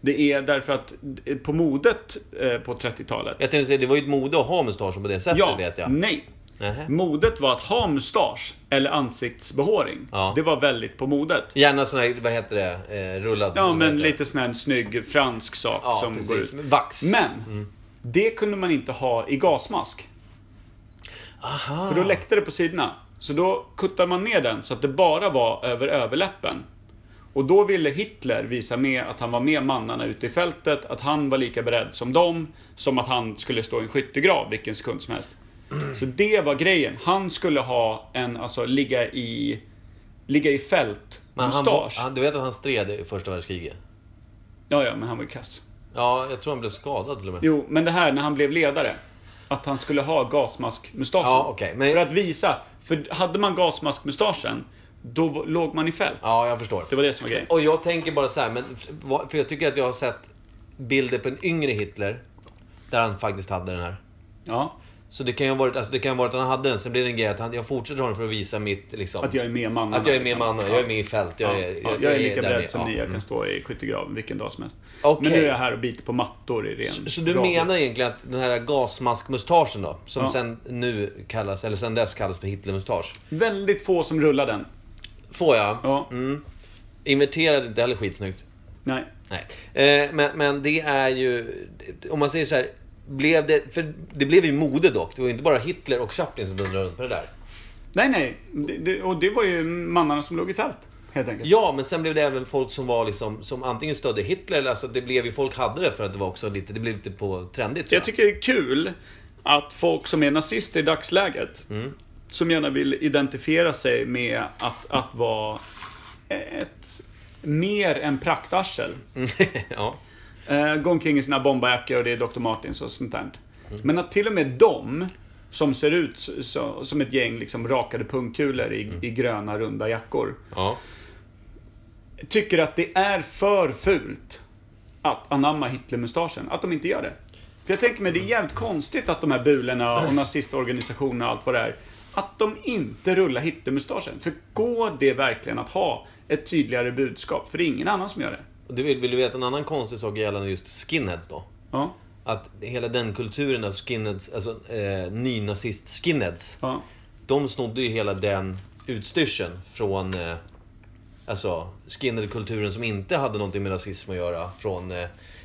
[SPEAKER 2] Det är därför att eh, på modet eh, på 30-talet
[SPEAKER 1] Jag tänkte säga, det var ju ett mode att ha mustaschen på det sättet
[SPEAKER 2] Ja, Mm.
[SPEAKER 1] vet jag.
[SPEAKER 2] nej.
[SPEAKER 1] Nähä.
[SPEAKER 2] Modet var att ha mustasch eller ansiktsbehåring.
[SPEAKER 1] Ja.
[SPEAKER 2] Det var väldigt på modet.
[SPEAKER 1] Gärna sån här, vad heter det, eh, rullad.
[SPEAKER 2] Ja,
[SPEAKER 1] vad
[SPEAKER 2] men
[SPEAKER 1] heter det?
[SPEAKER 2] lite sån här snygg fransk sak
[SPEAKER 1] Ja,
[SPEAKER 2] som
[SPEAKER 1] precis.
[SPEAKER 2] går ut.
[SPEAKER 1] Vax.
[SPEAKER 2] Men, det kunde man inte ha i gasmask.
[SPEAKER 1] Aha.
[SPEAKER 2] För då läckte det på sidorna. Så då kuttade man ner den så att det bara var över överläppen. Och då ville Hitler visa med att han var med mannarna ute i fältet, att han var lika beredd som dem, som att han skulle stå i en skyttegrav vilken sekund som helst. Så det var grejen. Han skulle ha en, alltså ligga i, ligga i fält,
[SPEAKER 1] Men han,
[SPEAKER 2] mustasch.
[SPEAKER 1] han, du vet att han stred i första världskriget?
[SPEAKER 2] Ja, ja, men han var ju kass.
[SPEAKER 1] Ja, jag tror han blev skadad till och med.
[SPEAKER 2] Jo, men det här när han blev ledare. Att han skulle ha gasmaskmustaschen.
[SPEAKER 1] Ja, okej, men-
[SPEAKER 2] För att visa. För hade man gasmaskmustaschen, då v- låg man i fält.
[SPEAKER 1] Ja, jag förstår.
[SPEAKER 2] Det var det som var grejen.
[SPEAKER 1] Och jag tänker bara så här, men, vad- för jag tycker att jag har sett bilder på en yngre Hitler. Där han faktiskt hade den här.
[SPEAKER 2] Ja,
[SPEAKER 1] Så det kan ju ha varit, alltså det kan ha varit att han hade den, sen blir det en grej att han, jag fortsätter ha den för att visa mitt... Liksom,
[SPEAKER 2] att jag är med mannen.
[SPEAKER 1] Att jag är med mannen, jag är med i fält. Jag
[SPEAKER 2] Mm. Liksom. Ja,
[SPEAKER 1] är,
[SPEAKER 2] ja, jag, är lika
[SPEAKER 1] där
[SPEAKER 2] beredd
[SPEAKER 1] med.
[SPEAKER 2] som
[SPEAKER 1] Ja,
[SPEAKER 2] ni. Jag
[SPEAKER 1] mm.
[SPEAKER 2] kan stå i skyttegraven vilken dag som helst.
[SPEAKER 1] Okej.
[SPEAKER 2] Men nu är jag här och biter på mattor i ren
[SPEAKER 1] Så du
[SPEAKER 2] radis.
[SPEAKER 1] menar egentligen att den här gasmaskmustaschen då, som
[SPEAKER 2] Ja.
[SPEAKER 1] sen nu kallas, eller sen dess kallas för Hitlermustasch.
[SPEAKER 2] Väldigt få som rullar den.
[SPEAKER 1] Får jag?
[SPEAKER 2] Ja.
[SPEAKER 1] Mm. Inverterad är inte heller skitsnyggt.
[SPEAKER 2] Nej.
[SPEAKER 1] Nej. Eh, men, men det är ju... Om man säger så här. Blev det, för det blev ju mode dock. Det var ju inte bara Hitler och Chaplin som dundrade runt på det där.
[SPEAKER 2] Nej, nej. Det, det, och det var ju mannarna som låg i fält. Helt enkelt.
[SPEAKER 1] Ja, men sen blev det även folk som var liksom, som antingen stödde Hitler eller alltså det blev ju, folk hade det för att det var också lite, det blev lite på trendigt. tror
[SPEAKER 2] Jag tycker det är kul att folk som är nazister i dagsläget, som gärna vill identifiera sig med att, att vara ett, mer än praktarsel,
[SPEAKER 1] ja.
[SPEAKER 2] eh, går omkring i sina bombarjackor och det är Dr. Martins och sånt där. Men att till och med de som ser ut så, som ett gäng liksom rakade pungkulor i, i gröna runda jackor,
[SPEAKER 1] ja.
[SPEAKER 2] tycker att det är för fult att anamma Hitlermustaschen. Att de inte gör det. För jag tänker mig, det är jävligt konstigt att de här bulorna och nazistorganisationerna och allt vad det är, att de inte rullar Hitlermustaschen. För går det verkligen att ha ett tydligare budskap? För det är ingen annan som gör det.
[SPEAKER 1] Och Du vill, vill du veta en annan konstig sak gällande just skinheads då?
[SPEAKER 2] Ja.
[SPEAKER 1] Att hela den kulturen, alltså skinheads, alltså eh, nynazist-skinheads.
[SPEAKER 2] ja.
[SPEAKER 1] De snodde ju hela den utstyrseln från eh, alltså, skinheadkulturen som inte hade någonting med rasism att göra. Från eh,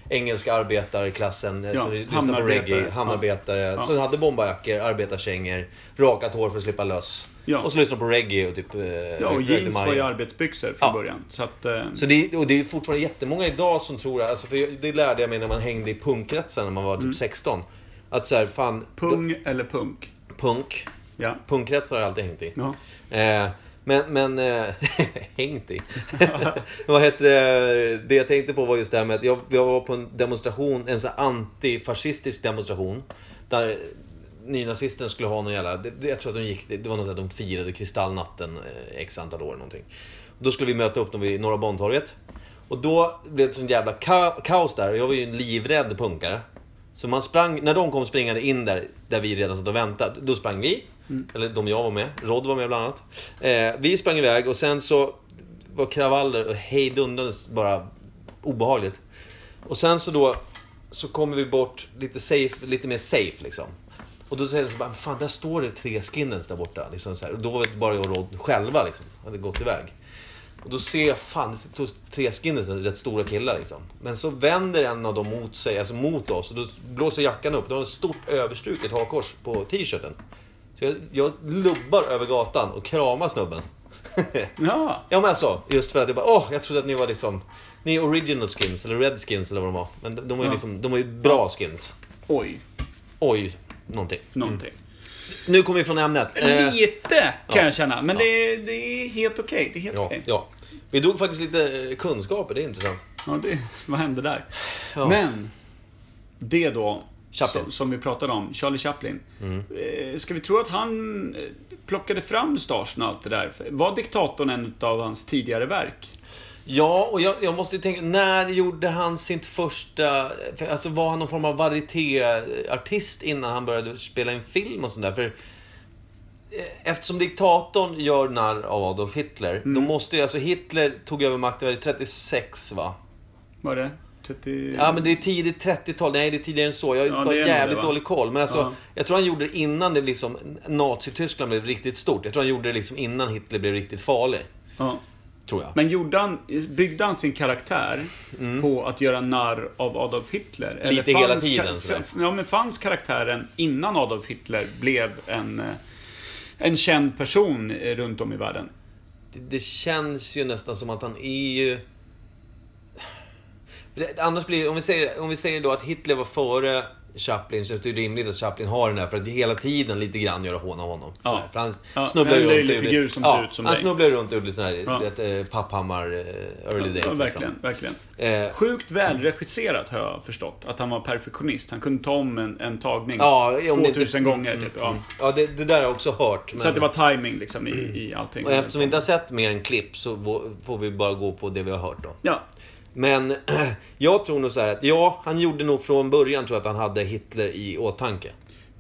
[SPEAKER 1] engelska arbetarklassen, eh,
[SPEAKER 2] Ja,
[SPEAKER 1] som lyssnade på
[SPEAKER 2] hamnarbetare.
[SPEAKER 1] reggae, hamnarbetare.
[SPEAKER 2] Ja.
[SPEAKER 1] Som hade bombarjackor, arbetarkängor, rakat hår för att slippa löss.
[SPEAKER 2] Ja.
[SPEAKER 1] Och så lyssnade på reggae och typ... eh,
[SPEAKER 2] ja och
[SPEAKER 1] Röjde
[SPEAKER 2] jeans
[SPEAKER 1] Maja.
[SPEAKER 2] var ju arbetsbyxor från
[SPEAKER 1] Ja.
[SPEAKER 2] början. Så att... Eh,
[SPEAKER 1] Så det, och det är fortfarande jättemånga idag som tror, alltså för jag- det lärde jag mig när man hängde i punkkretsen när man var typ 16. Att såhär, fan...
[SPEAKER 2] pung eller Mm. punk.
[SPEAKER 1] Punk.
[SPEAKER 2] Ja.
[SPEAKER 1] Punkkretsar har jag alltid hängt i.
[SPEAKER 2] ja.
[SPEAKER 1] Eh, men, men... Eh, hängt i? Vad heter det? Det jag tänkte på var just det här med att jag, jag var på en demonstration, en sån här antifascistisk demonstration. Där nynazisterna skulle ha någon jävla... Det, det, jag tror att de gick... Det, det var något sånt att de firade kristallnatten eh, x antal år någonting. Då skulle vi möta upp dem vid Norra Bantorget. Och då blev det sån jävla ka- kaos där. Och jag var ju en livrädd punkare. Så man sprang, när de kom springande in där, där vi redan satt och väntade, då sprang vi. Eller de jag var med. Rod var med bland annat. Eh, vi sprang iväg och sen så var kravaller och hejdundrandes bara obehagligt. Och sen så då, så kommer vi bort lite, safe, lite mer safe liksom. Och då säger de så bara, fan där står det tre skinnens där borta. Liksom så här. Och då var det bara jag och Rod själva liksom, hade gått iväg. Och då ser jag, fan, det stod tre skinners, rätt stora killar liksom. Men så vänder en av dem mot sig, alltså mot oss, och då blåser jackan upp. Då har en stort överstruket hakkors på t-shirten. Så jag, jag lubbar över gatan och kramar snubben.
[SPEAKER 2] Ja.
[SPEAKER 1] ja men alltså, just för att jag bara, åh, jag trodde att ni var liksom, ni är original skins, eller red skins eller vad de var. Men de, de var ju
[SPEAKER 2] Ja.
[SPEAKER 1] liksom, de var ju bra skins.
[SPEAKER 2] Oj.
[SPEAKER 1] Oj, någonting.
[SPEAKER 2] Någonting.
[SPEAKER 1] Nu kommer vi från ämnet. Eh,
[SPEAKER 2] Lite kan
[SPEAKER 1] ja.
[SPEAKER 2] jag känna. Men
[SPEAKER 1] Ja.
[SPEAKER 2] det, det är helt okej. Det är helt
[SPEAKER 1] ja,
[SPEAKER 2] okej.
[SPEAKER 1] ja. Vi drog faktiskt lite eh, kunskaper, det är intressant.
[SPEAKER 2] Ja, det, vad hände där?
[SPEAKER 1] Ja.
[SPEAKER 2] Men, det då,
[SPEAKER 1] Chaplin. Mm.
[SPEAKER 2] som, som vi pratade om, Charlie Chaplin. Eh, Ska vi tro att han eh, plockade fram mustaschen och allt det där? Var diktatorn en av hans tidigare verk?
[SPEAKER 1] Ja, och jag, jag måste ju tänka, när gjorde han sitt första... För, alltså var han någon form av varietéartist innan han började spela en film och sånt där? För eh, eftersom diktatorn gör narr av Adolf Hitler,
[SPEAKER 2] Mm.
[SPEAKER 1] då måste ju... Alltså Hitler tog över makten, var det 36 va?
[SPEAKER 2] Var det? 30...
[SPEAKER 1] Ja men det är tidigt 30-tal, nej det är tidigare än så. Jag
[SPEAKER 2] Ja,
[SPEAKER 1] har
[SPEAKER 2] det
[SPEAKER 1] bara
[SPEAKER 2] är nog
[SPEAKER 1] jävligt
[SPEAKER 2] det, va?
[SPEAKER 1] dålig koll. Men alltså,
[SPEAKER 2] Ja.
[SPEAKER 1] jag tror han gjorde det innan det liksom, Nazityskland blev riktigt stort. Jag tror han gjorde det liksom innan Hitler blev riktigt farlig.
[SPEAKER 2] Ja.
[SPEAKER 1] Tror jag.
[SPEAKER 2] Men gjorde han, byggde han sin karaktär på att göra narr av Adolf Hitler? Eller
[SPEAKER 1] Mm. Lite hela
[SPEAKER 2] fanns
[SPEAKER 1] tiden,
[SPEAKER 2] ka-
[SPEAKER 1] sådär.
[SPEAKER 2] f- Ja, men fanns karaktären innan Adolf Hitler blev en, eh, en känd person eh, runt om i världen?
[SPEAKER 1] det, det känns ju nästan som att han är ju... För det, annars blir om vi, säger, om vi säger då att Hitler var före Chaplin, känns det ju rimligt att Chaplin har den här för att hela tiden lite grann göra hån av honom.
[SPEAKER 2] Ja.
[SPEAKER 1] Sådär, För han
[SPEAKER 2] Ja,
[SPEAKER 1] snubblar
[SPEAKER 2] en
[SPEAKER 1] ju runt.
[SPEAKER 2] löjlig
[SPEAKER 1] och gjorde-
[SPEAKER 2] figur som ser ut som
[SPEAKER 1] Han
[SPEAKER 2] dig.
[SPEAKER 1] snubblar ju runt och gjorde sån här,
[SPEAKER 2] Ja.
[SPEAKER 1] du vet, eh, Papphammar, eh, early days
[SPEAKER 2] Ja, verkligen,
[SPEAKER 1] liksom.
[SPEAKER 2] verkligen.
[SPEAKER 1] Eh,
[SPEAKER 2] Sjukt välregisserat har jag förstått. Att han var perfektionist. Han kunde ta om en, en tagning
[SPEAKER 1] Ja, om det inte- mm,
[SPEAKER 2] 2000 gånger. Typ. Ja.
[SPEAKER 1] Ja, det, det där har jag också hört.
[SPEAKER 2] Så att det var timing liksom i, i allting.
[SPEAKER 1] Och eftersom vi inte har sett mer än klipp så vå- får vi bara gå på det vi har hört då.
[SPEAKER 2] Ja,
[SPEAKER 1] Men jag tror nog så här att ja, han gjorde nog från början tror jag att han hade Hitler i åtanke.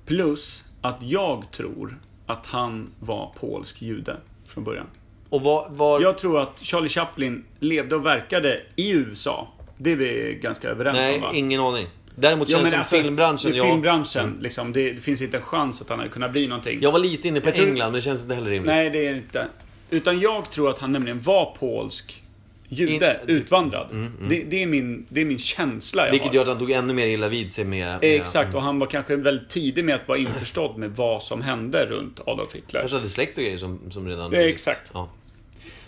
[SPEAKER 2] plus att jag tror att han var polsk jude från början.
[SPEAKER 1] Och var... var
[SPEAKER 2] Jag tror att Charlie Chaplin levde och verkade i USA. Det är vi ganska överens
[SPEAKER 1] nej,
[SPEAKER 2] om va? alltså,
[SPEAKER 1] ingen aning. Däremot känns det som filmbranschen.
[SPEAKER 2] i
[SPEAKER 1] Jag,
[SPEAKER 2] filmbranschen, liksom, det, det finns inte en chans att han hade kunnat bli någonting.
[SPEAKER 1] jag var lite inne på
[SPEAKER 2] Jag tror-
[SPEAKER 1] England, men det känns inte heller rimligt.
[SPEAKER 2] Nej, det är det inte. Utan jag tror att han nämligen var polsk jude,
[SPEAKER 1] In- typ. Mm,
[SPEAKER 2] utvandrad. Det, det, är min, det är min känsla jag
[SPEAKER 1] Vilket
[SPEAKER 2] har.
[SPEAKER 1] gör att han tog ännu mer illa vid sig med... med
[SPEAKER 2] Exakt, och han var kanske väldigt tidig med att vara införstådd med vad som hände runt Adolf Hitler.
[SPEAKER 1] Kanske hade släkt och grejer som, som redan...
[SPEAKER 2] Ja, exakt.
[SPEAKER 1] Ja.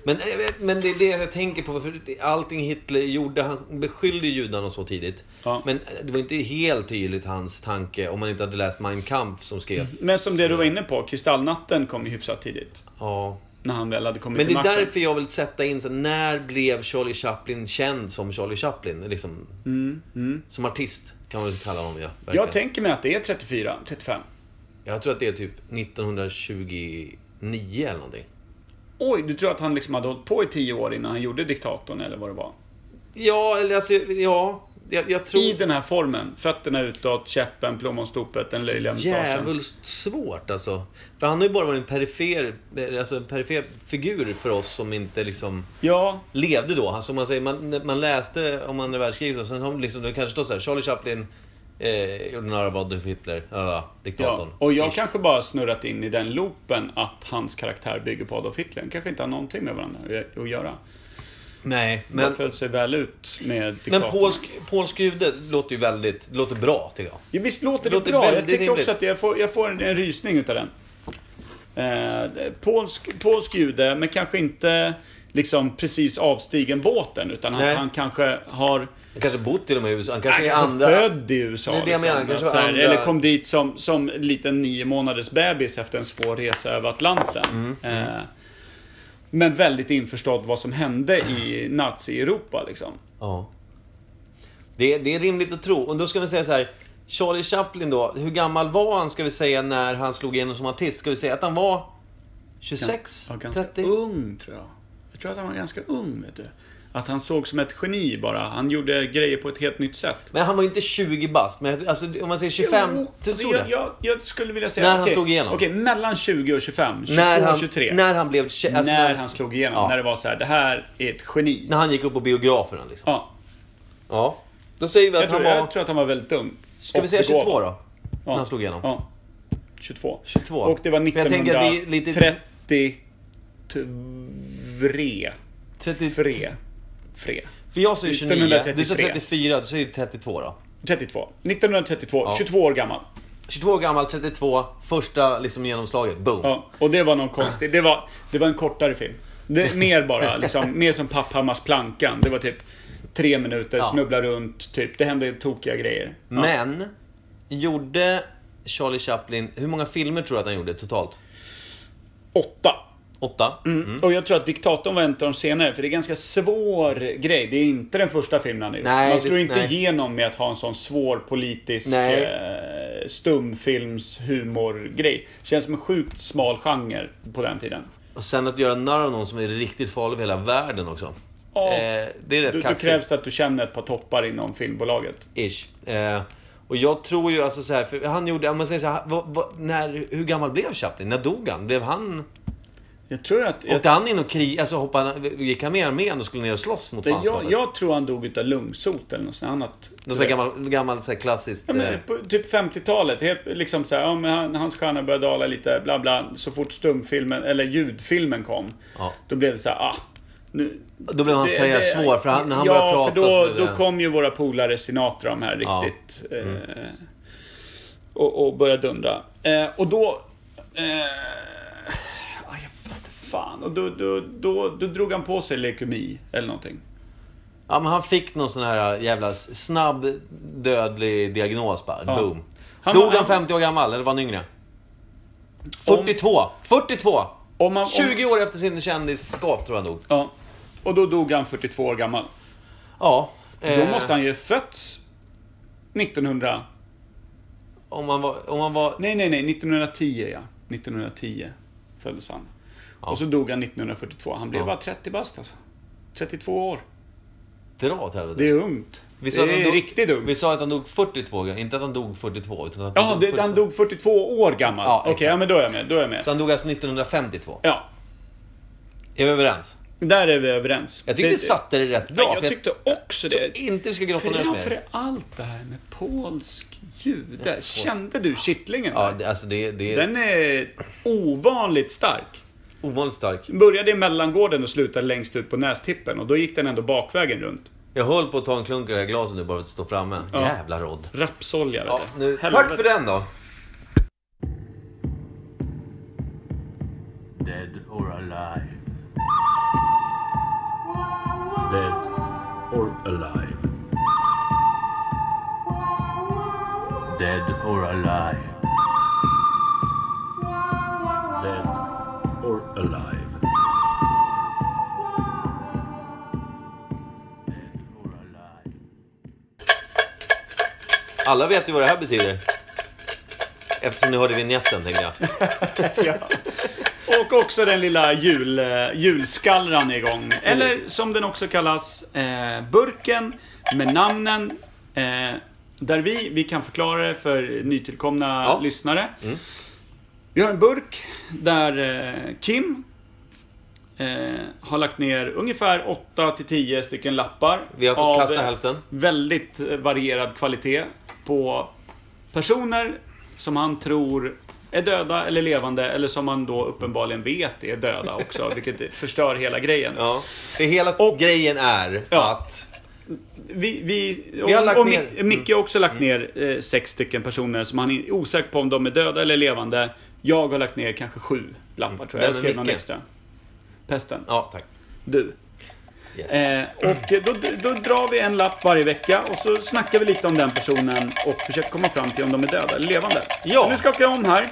[SPEAKER 1] Men, eh, men det är det jag tänker på. För allting Hitler gjorde, han beskyllde judarna så tidigt.
[SPEAKER 2] Ja.
[SPEAKER 1] Men eh, det var inte helt tydligt hans tanke om man inte hade läst Mein Kampf som skrev.
[SPEAKER 2] Men som det du var inne på, Kristallnatten kom ju hyfsat tidigt.
[SPEAKER 1] Ja.
[SPEAKER 2] När han väl hade kommit
[SPEAKER 1] Men det
[SPEAKER 2] till
[SPEAKER 1] är
[SPEAKER 2] makten.
[SPEAKER 1] därför jag vill sätta in så här, när blev Charlie Chaplin känd som Charlie Chaplin? Liksom, Som artist kan man väl kalla honom ja. verkligen.
[SPEAKER 2] Mm, Jag tänker mig att det är 34, 35.
[SPEAKER 1] jag tror att det är typ 1929 eller någonting.
[SPEAKER 2] Oj, du tror att han liksom hade hållit på i 10 år innan han gjorde Diktatorn eller vad det var?
[SPEAKER 1] Ja, eller alltså, ja. Jag, jag tror...
[SPEAKER 2] I den här formen. Fötterna utåt, käppen, plommonstopet, den löjliga mustaschen.
[SPEAKER 1] Jävligt svårt alltså. För han har ju bara varit en perifer, alltså en perifer figur för oss som inte liksom
[SPEAKER 2] Ja,
[SPEAKER 1] levde då. Alltså man, säger, man, när man läste om andra världskriget och sen så har man liksom, det kanske stod så här, Charlie Chaplin eh, gjorde narr av Adolf Hitler, ja,
[SPEAKER 2] ja.
[SPEAKER 1] diktatorn.
[SPEAKER 2] Och jag
[SPEAKER 1] Ish.
[SPEAKER 2] kanske bara snurrat in i den loopen att hans karaktär bygger på Adolf Hitler. Kanske inte har någonting med varandra att göra.
[SPEAKER 1] Nej,
[SPEAKER 2] Men...
[SPEAKER 1] men,
[SPEAKER 2] Bara föll sig väl ut med
[SPEAKER 1] men
[SPEAKER 2] diktatorn.
[SPEAKER 1] polsk, polsk jude låter ju väldigt, det låter bra tycker jag.
[SPEAKER 2] Ja, visst låter det
[SPEAKER 1] Låter
[SPEAKER 2] bra? Jag
[SPEAKER 1] väldigt
[SPEAKER 2] tycker
[SPEAKER 1] rimligt.
[SPEAKER 2] också att jag får, jag får en, en rysning utav den. Eh, polsk, polsk jude, men kanske inte liksom precis avstigen båten, utan han,
[SPEAKER 1] Nej.
[SPEAKER 2] han kanske har...
[SPEAKER 1] Han kanske bott till och med i USA, han kanske
[SPEAKER 2] Äh, Han
[SPEAKER 1] Alltså, är
[SPEAKER 2] kanske
[SPEAKER 1] andra...
[SPEAKER 2] född i USA.
[SPEAKER 1] Det är det jag
[SPEAKER 2] liksom.
[SPEAKER 1] menar, kanske
[SPEAKER 2] Att så här,
[SPEAKER 1] andra-
[SPEAKER 2] Eller kom dit som, som en liten nio månaders bebis efter en svår resa över Atlanten.
[SPEAKER 1] Mm.
[SPEAKER 2] Eh, men väldigt införstådd vad som hände i Nazi-Europa liksom.
[SPEAKER 1] Ja. Det, det är rimligt att tro. Och då ska vi säga så här. Charlie Chaplin då, hur gammal var han ska vi säga när han slog igenom som artist? Ska vi säga att han var 26?
[SPEAKER 2] var ganska
[SPEAKER 1] 30?
[SPEAKER 2] ung tror jag. Jag tror att han var ganska ung, vet du. Att han såg som ett geni bara. Han gjorde grejer på ett helt nytt sätt.
[SPEAKER 1] Men han var ju inte 20 bast. Men jag- alltså, om man säger 25,
[SPEAKER 2] Jo,
[SPEAKER 1] så
[SPEAKER 2] alltså,
[SPEAKER 1] tror
[SPEAKER 2] jag,
[SPEAKER 1] jag.
[SPEAKER 2] jag, jag skulle vilja säga...
[SPEAKER 1] När han
[SPEAKER 2] okej,
[SPEAKER 1] slog igenom.
[SPEAKER 2] Okej, mellan 20 och 25. 22
[SPEAKER 1] När han,
[SPEAKER 2] 23. När,
[SPEAKER 1] när han blev kä- alltså,
[SPEAKER 2] han slog igenom.
[SPEAKER 1] Ja.
[SPEAKER 2] När det var så här, det här är ett geni.
[SPEAKER 1] När han gick upp på biograferna liksom.
[SPEAKER 2] Ja,
[SPEAKER 1] Ja. Då säger vi att
[SPEAKER 2] jag, tror,
[SPEAKER 1] han var...
[SPEAKER 2] jag tror att han var väldigt ung.
[SPEAKER 1] Ska vi
[SPEAKER 2] Och
[SPEAKER 1] säga 22
[SPEAKER 2] begåvad.
[SPEAKER 1] då? När han slog igenom.
[SPEAKER 2] Ja. 22.
[SPEAKER 1] 22.
[SPEAKER 2] Och det var
[SPEAKER 1] Men jag tänker att vi lite-
[SPEAKER 2] 1933.
[SPEAKER 1] 30...
[SPEAKER 2] Fre. Fre.
[SPEAKER 1] För jag säger 29, du sa
[SPEAKER 2] 1933.
[SPEAKER 1] 34, du säger 32 då.
[SPEAKER 2] 32. 1932. 22 år gammal.
[SPEAKER 1] 22 år gammal, 32, första liksom genomslaget. Boom.
[SPEAKER 2] Ja, och det var någon konstig... Det var, det var en kortare film. Det, mer bara, liksom, mer som Papphammars plankan. Det var typ tre minuter,
[SPEAKER 1] Ja.
[SPEAKER 2] snubbla runt, typ. Det hände tokiga grejer. Ja.
[SPEAKER 1] Men, gjorde Charlie Chaplin, hur många filmer tror du att han gjorde totalt?
[SPEAKER 2] Åtta.
[SPEAKER 1] Åtta?
[SPEAKER 2] Och jag tror att Diktatorn var en av de senare, för det är ganska svår grej. Det är inte den första filmen han har gjort.
[SPEAKER 1] Nej,
[SPEAKER 2] Man slår
[SPEAKER 1] det-
[SPEAKER 2] inte
[SPEAKER 1] nej.
[SPEAKER 2] igenom med att ha en sån svår politisk
[SPEAKER 1] Nej.
[SPEAKER 2] eh, stumfilmshumorgrej. Känns som en sjukt smal genre på den tiden.
[SPEAKER 1] Och sen att göra narr av någon som är riktigt farlig för hela världen också.
[SPEAKER 2] Ja.
[SPEAKER 1] Eh, det är rätt
[SPEAKER 2] Då, då
[SPEAKER 1] kaxigt.
[SPEAKER 2] krävs det att du känner ett par toppar inom filmbolaget.
[SPEAKER 1] Ish. Eh, och jag tror ju alltså så här, för han gjorde, om man säger så här, vad, vad, när, hur gammal blev Chaplin? När dog han? Blev han,
[SPEAKER 2] Jag tror att... Jag,
[SPEAKER 1] åkte han in och krig, alltså hoppade, han- gick han med i armén och skulle ner och slåss mot fanskapet?
[SPEAKER 2] jag, jag tror han dog utav lungsot eller något sånt annat.
[SPEAKER 1] Någon sån här gammal, gammal så här klassiskt...
[SPEAKER 2] Ja,
[SPEAKER 1] eh,
[SPEAKER 2] men, på, typ 50-talet, helt, liksom så här, ja, men han, hans stjärna började dala lite, bla bla. Så fort stumfilmen, eller ljudfilmen kom,
[SPEAKER 1] Ja.
[SPEAKER 2] då blev det så här, ah, Nu,
[SPEAKER 1] Då blev hans karriär svår, för han, när han började prata
[SPEAKER 2] Ja,
[SPEAKER 1] så
[SPEAKER 2] för
[SPEAKER 1] blev
[SPEAKER 2] då,
[SPEAKER 1] det-
[SPEAKER 2] då kom ju våra polare Sinatra de här
[SPEAKER 1] Ja. Mm.
[SPEAKER 2] riktigt. Eh, och, och började dundra. Eh, och då... Eh, aj, jag fattar fan. Och då, då, då, då drog han på sig leukemi eller någonting.
[SPEAKER 1] Ja, men han fick någon sån här eh, jävla snabb dödlig diagnos bara.
[SPEAKER 2] Ja.
[SPEAKER 1] Boom.
[SPEAKER 2] Han
[SPEAKER 1] Dog
[SPEAKER 2] var-
[SPEAKER 1] han
[SPEAKER 2] han-
[SPEAKER 1] 50 år gammal, eller var han yngre? 42! 42!
[SPEAKER 2] Om man, om,
[SPEAKER 1] 20 år efter sin kändisskap tror jag han dog.
[SPEAKER 2] Ja. Och då dog han 42 år gammal.
[SPEAKER 1] Ja.
[SPEAKER 2] Då
[SPEAKER 1] eh,
[SPEAKER 2] måste han ju fötts 1900...
[SPEAKER 1] Om han var... Om han var
[SPEAKER 2] Nej, nej, nej. 1910, ja. 1910 föddes han. Och så dog han 1942. Han blev
[SPEAKER 1] Ja.
[SPEAKER 2] bara 30 bast alltså. 32 år.
[SPEAKER 1] dra åt helvete.
[SPEAKER 2] Det är ungt.
[SPEAKER 1] Vi sa att
[SPEAKER 2] det
[SPEAKER 1] han
[SPEAKER 2] är
[SPEAKER 1] dog-
[SPEAKER 2] riktigt ungt.
[SPEAKER 1] Vi sa att han dog 42, inte att han dog 42. Utan att
[SPEAKER 2] Jaha, det, han
[SPEAKER 1] 42.
[SPEAKER 2] dog 42 år gammal.
[SPEAKER 1] Ja,
[SPEAKER 2] Okej,
[SPEAKER 1] exakt.
[SPEAKER 2] ja, men då är jag med. Då är jag med.
[SPEAKER 1] Så han dog alltså 1952.
[SPEAKER 2] Ja,
[SPEAKER 1] Är vi överens?
[SPEAKER 2] där är vi överens.
[SPEAKER 1] Jag tyckte det, satte det rätt bra.
[SPEAKER 2] Ja,
[SPEAKER 1] för
[SPEAKER 2] jag tyckte också det.
[SPEAKER 1] Så inte vi ska gråta ner oss
[SPEAKER 2] Framför
[SPEAKER 1] mer.
[SPEAKER 2] allt det här med polsk jude. Kände du kittlingen?
[SPEAKER 1] Ja,
[SPEAKER 2] där?
[SPEAKER 1] det, alltså det, det är
[SPEAKER 2] Den är ovanligt stark.
[SPEAKER 1] ovanligt stark.
[SPEAKER 2] Den började i mellangården och slutade längst ut på nästippen och då gick den ändå bakvägen runt.
[SPEAKER 1] Jag höll på att ta en klunk i det här glaset nu bara för att stå framme.
[SPEAKER 2] Ja.
[SPEAKER 1] Jävla rodd.
[SPEAKER 2] Rapsolja, vet
[SPEAKER 1] Ja,
[SPEAKER 2] du.
[SPEAKER 1] nu,
[SPEAKER 2] Helvete.
[SPEAKER 1] tack för den då.
[SPEAKER 6] dead or alive. Dead or alive. Dead or alive. Dead or alive. Dead or alive.
[SPEAKER 1] Alla vet ju vad det här betyder. Eftersom ni hörde vignetten tänkte jag.
[SPEAKER 2] Och också den lilla jul, eh, julskallran är igång.
[SPEAKER 1] Mm.
[SPEAKER 2] Eller som den också kallas, eh, burken med namnen. Eh, där vi, vi kan förklara det för nytillkomna
[SPEAKER 1] Ja. Mm.
[SPEAKER 2] lyssnare. Vi har en burk där eh, Kim eh, har lagt ner ungefär 8 till 10 stycken lappar.
[SPEAKER 1] Vi har fått
[SPEAKER 2] av,
[SPEAKER 1] kasta
[SPEAKER 2] eh,
[SPEAKER 1] hälften.
[SPEAKER 2] Väldigt eh, varierad kvalitet på personer som han tror är döda eller levande eller som han då uppenbarligen vet är döda också, vilket förstör hela grejen.
[SPEAKER 1] Ja. För hela grejen är
[SPEAKER 2] Ja.
[SPEAKER 1] att...
[SPEAKER 2] Vi, vi, och,
[SPEAKER 1] har lagt
[SPEAKER 2] och
[SPEAKER 1] ner- Mm.
[SPEAKER 2] Mic- Micke har också lagt ner eh, sex stycken personer som han är osäker på om de är döda eller levande. Jag har lagt ner kanske sju lappar tror jag.
[SPEAKER 1] Vem
[SPEAKER 2] Jag
[SPEAKER 1] är
[SPEAKER 2] skrev någon
[SPEAKER 1] Micke?
[SPEAKER 2] extra. Pesten.
[SPEAKER 1] Ja, tack.
[SPEAKER 2] Du.
[SPEAKER 1] Yes.
[SPEAKER 2] Eh, och då, då drar vi en lapp varje vecka och så snackar vi lite om den personen och försöker komma fram till om de är döda eller levande.
[SPEAKER 1] Ja.
[SPEAKER 2] Så nu skakar jag om här.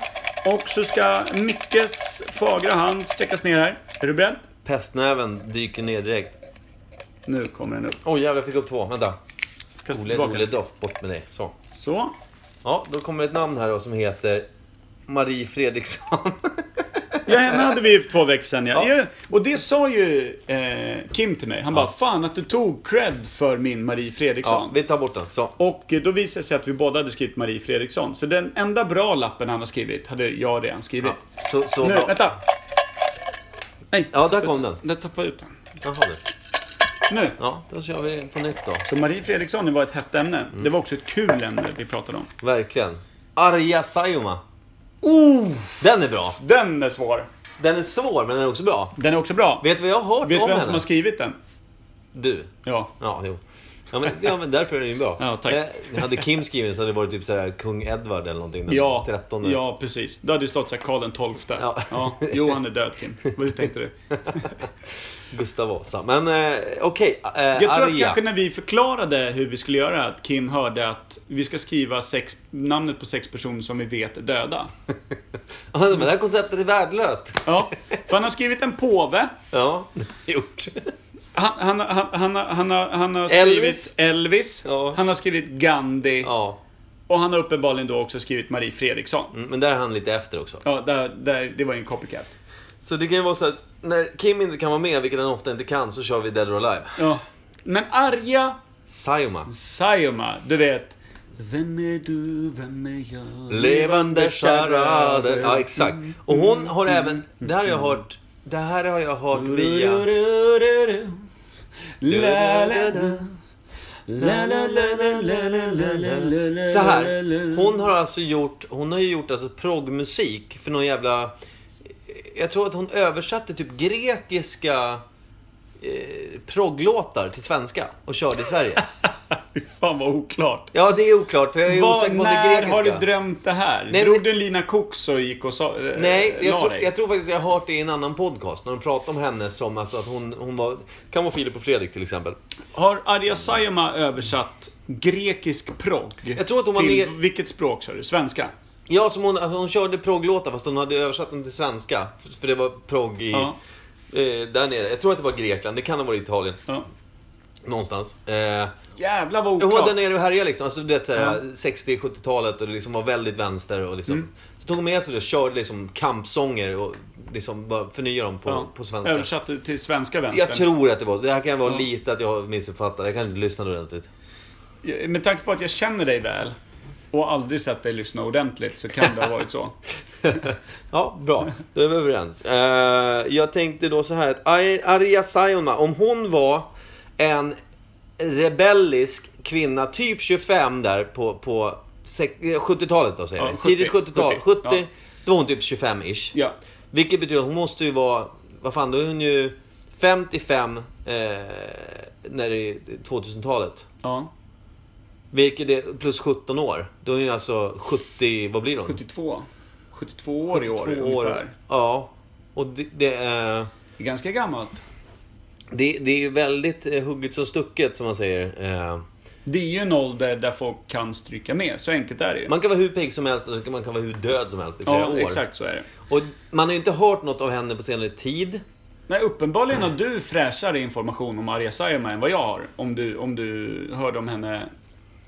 [SPEAKER 2] Och så ska Mickes fagra hand sträckas ner här. Är du beredd?
[SPEAKER 1] Pestnäven dyker ner direkt.
[SPEAKER 2] Nu kommer den upp.
[SPEAKER 1] Oj oh, jävlar, jag fick upp två. Vänta.
[SPEAKER 2] Kasta
[SPEAKER 1] Ole,
[SPEAKER 2] tillbaka
[SPEAKER 1] Ole
[SPEAKER 2] den.
[SPEAKER 1] Doff, bort med dig. Så.
[SPEAKER 2] Så.
[SPEAKER 1] Ja, då kommer ett namn här då som heter Marie Fredriksson.
[SPEAKER 2] Ja, henne hade vi ju för två veckor sedan. Ja.
[SPEAKER 1] Ja.
[SPEAKER 2] Ja. Och det sa ju eh, Kim till mig. Han bara, fan att du tog cred för min Marie
[SPEAKER 1] ja,
[SPEAKER 2] Fredriksson.
[SPEAKER 1] vi tar bort den. Så.
[SPEAKER 2] Och eh, då visade det sig att vi båda hade skrivit Marie Fredriksson. Så den enda bra lappen han har skrivit hade jag redan skrivit.
[SPEAKER 1] Ja, så, så
[SPEAKER 2] Nu,
[SPEAKER 1] bra.
[SPEAKER 2] vänta! Nej,
[SPEAKER 1] Ja, där kom den.
[SPEAKER 2] där tappade jag ut den.
[SPEAKER 1] Jaha du.
[SPEAKER 2] Nu!
[SPEAKER 1] Ja, då kör vi på nytt då.
[SPEAKER 2] Så Marie Fredriksson var ett hett ämne.
[SPEAKER 1] Mm.
[SPEAKER 2] Det var också ett kul ämne vi pratade om.
[SPEAKER 1] Verkligen. Arja Saijonmaa.
[SPEAKER 2] Oh!
[SPEAKER 1] Den är bra.
[SPEAKER 2] Den är svår.
[SPEAKER 1] Den är svår, men den är också bra.
[SPEAKER 2] Den är också bra. Vet
[SPEAKER 1] Vet du vad jag har hört
[SPEAKER 2] du
[SPEAKER 1] om Mm.
[SPEAKER 2] vem
[SPEAKER 1] henne?
[SPEAKER 2] som har skrivit den?
[SPEAKER 1] Du.
[SPEAKER 2] Ja.
[SPEAKER 1] Ja, jo. Ja men, ja, men därför är den ju bra.
[SPEAKER 2] Ja, tack.
[SPEAKER 1] Eh, hade Kim skrivit så hade det varit typ såhär kung Edward eller någonting. Den
[SPEAKER 2] Ja,
[SPEAKER 1] 13.
[SPEAKER 2] ja precis. Då hade det stått såhär Karl den tolfte.
[SPEAKER 1] Ja.
[SPEAKER 2] Ja. Jo, han är död Kim. Vad tänkte du?
[SPEAKER 1] Gustav Vasa. Men eh, okej, eh,
[SPEAKER 2] Jag tror
[SPEAKER 1] Arja.
[SPEAKER 2] att kanske när vi förklarade hur vi skulle göra, att Kim hörde att vi ska skriva sex, namnet på sex personer som vi vet är döda.
[SPEAKER 1] Ja, men det här konceptet är värdelöst.
[SPEAKER 2] Ja, för han har skrivit en påve.
[SPEAKER 1] Ja, gjort.
[SPEAKER 2] Han, han, han, han, han, har- han har skrivit
[SPEAKER 1] Elvis.
[SPEAKER 2] Elvis.
[SPEAKER 1] Ja.
[SPEAKER 2] Han har skrivit Gandhi.
[SPEAKER 1] Ja,
[SPEAKER 2] Och han har uppenbarligen då också skrivit Marie Fredriksson.
[SPEAKER 1] mm, men där är han lite efter också.
[SPEAKER 2] Ja, där, där, det var ju en copycat.
[SPEAKER 1] Så det kan ju vara så att när Kim inte kan vara med, vilket han ofta inte kan, så kör vi Dead or Alive.
[SPEAKER 2] Ja. Men Arja
[SPEAKER 1] Saijonmaa.
[SPEAKER 2] Saijonmaa, du vet. Vem är du, vem är jag?
[SPEAKER 1] Levande charader. Ja, exakt. Och hon har även... Det här har jag hört... Det här har jag hört via...
[SPEAKER 2] La, la, la. La, la, la, la, la, la, la, la, la,
[SPEAKER 1] Så här.
[SPEAKER 2] la, la.
[SPEAKER 1] Hon har alltså gjort... Hon har ju gjort alltså progmusik för någon jävla... Jag tror att hon översatte typ grekiska eh, progglåtar till svenska och körde i Sverige.
[SPEAKER 2] Fy Fan vad oklart.
[SPEAKER 1] Ja, det är oklart för jag är
[SPEAKER 2] Vad-
[SPEAKER 1] osäker på om det är
[SPEAKER 2] när
[SPEAKER 1] grekiska.
[SPEAKER 2] har du drömt det här?
[SPEAKER 1] Nej,
[SPEAKER 2] Drog
[SPEAKER 1] men-
[SPEAKER 2] du en lina koks och gick och sa, eh,
[SPEAKER 1] Nej, jag,
[SPEAKER 2] la
[SPEAKER 1] tror-
[SPEAKER 2] dig?
[SPEAKER 1] jag tror faktiskt jag har hört det i en annan podcast. När de pratar om henne som alltså att hon, hon var... Kan vara Filip och Fredrik till exempel.
[SPEAKER 2] Har Arja Saijonmaa översatt grekisk progg
[SPEAKER 1] Jag tror att hon var
[SPEAKER 2] till
[SPEAKER 1] med-
[SPEAKER 2] vilket språk sa du? Svenska?
[SPEAKER 1] Ja, som hon, alltså hon körde progglåtar fast hon hade översatt dem till svenska. För- För det var progg i...
[SPEAKER 2] Ja.
[SPEAKER 1] Eh, där nere. Jag tror att det var Grekland. Det kan ha varit Italien.
[SPEAKER 2] ja.
[SPEAKER 1] Någonstans. Eh,
[SPEAKER 2] Jävlar vad
[SPEAKER 1] Hon var
[SPEAKER 2] oklart.
[SPEAKER 1] där nere och härjade liksom. Alltså, du vet, såhär, 60-70-talet och det liksom var väldigt vänster. Och
[SPEAKER 2] Mm.
[SPEAKER 1] liksom, Så tog hon med sig det och körde liksom kampsånger och liksom bara förnyade dem på,
[SPEAKER 2] Ja.
[SPEAKER 1] på svenska.
[SPEAKER 2] Översatt det till svenska vänstern.
[SPEAKER 1] Jag tror att det var så. Det här kan vara lite att jag missuppfattar. Jag kanske inte lyssnade ordentligt.
[SPEAKER 2] Med tanke på att jag känner dig väl och aldrig sett dig lyssna ordentligt så kan det ha varit så.
[SPEAKER 1] Ja, bra. Då är vi överens. Eh, jag tänkte då så här att Ar- Arja Saijonmaa, om hon var en rebellisk kvinna, typ 25 där på, på sex- eh, 70-talet då säger
[SPEAKER 2] Ja,
[SPEAKER 1] vi.
[SPEAKER 2] 70,
[SPEAKER 1] Tidigt 70-tal. 70,
[SPEAKER 2] 70, ja.
[SPEAKER 1] då var hon typ 25-ish.
[SPEAKER 2] Ja.
[SPEAKER 1] Vilket betyder att hon måste ju vara, vad fan, då är hon ju 55 eh, när det är 2000-talet.
[SPEAKER 2] Ja.
[SPEAKER 1] Vilket är plus 17 år. Då är hon ju alltså 70, vad blir hon?
[SPEAKER 2] 72. 72 år i år
[SPEAKER 1] 72
[SPEAKER 2] ungefär.
[SPEAKER 1] Ja. Och det, det är...
[SPEAKER 2] Det är ganska gammalt.
[SPEAKER 1] Det, det är ju väldigt eh, hugget som stucket som man säger. Eh,
[SPEAKER 2] Det är ju en ålder där folk kan stryka med, så enkelt är det ju.
[SPEAKER 1] Man kan vara hur pigg som helst och så kan man kan vara hur död som helst i flera
[SPEAKER 2] Ja,
[SPEAKER 1] år.
[SPEAKER 2] exakt så är det.
[SPEAKER 1] Och man har ju inte hört något av henne på senare tid.
[SPEAKER 2] Nej, uppenbarligen har du fräschare information om Arja Saijonmaa än vad jag har. Om du, om du hörde om henne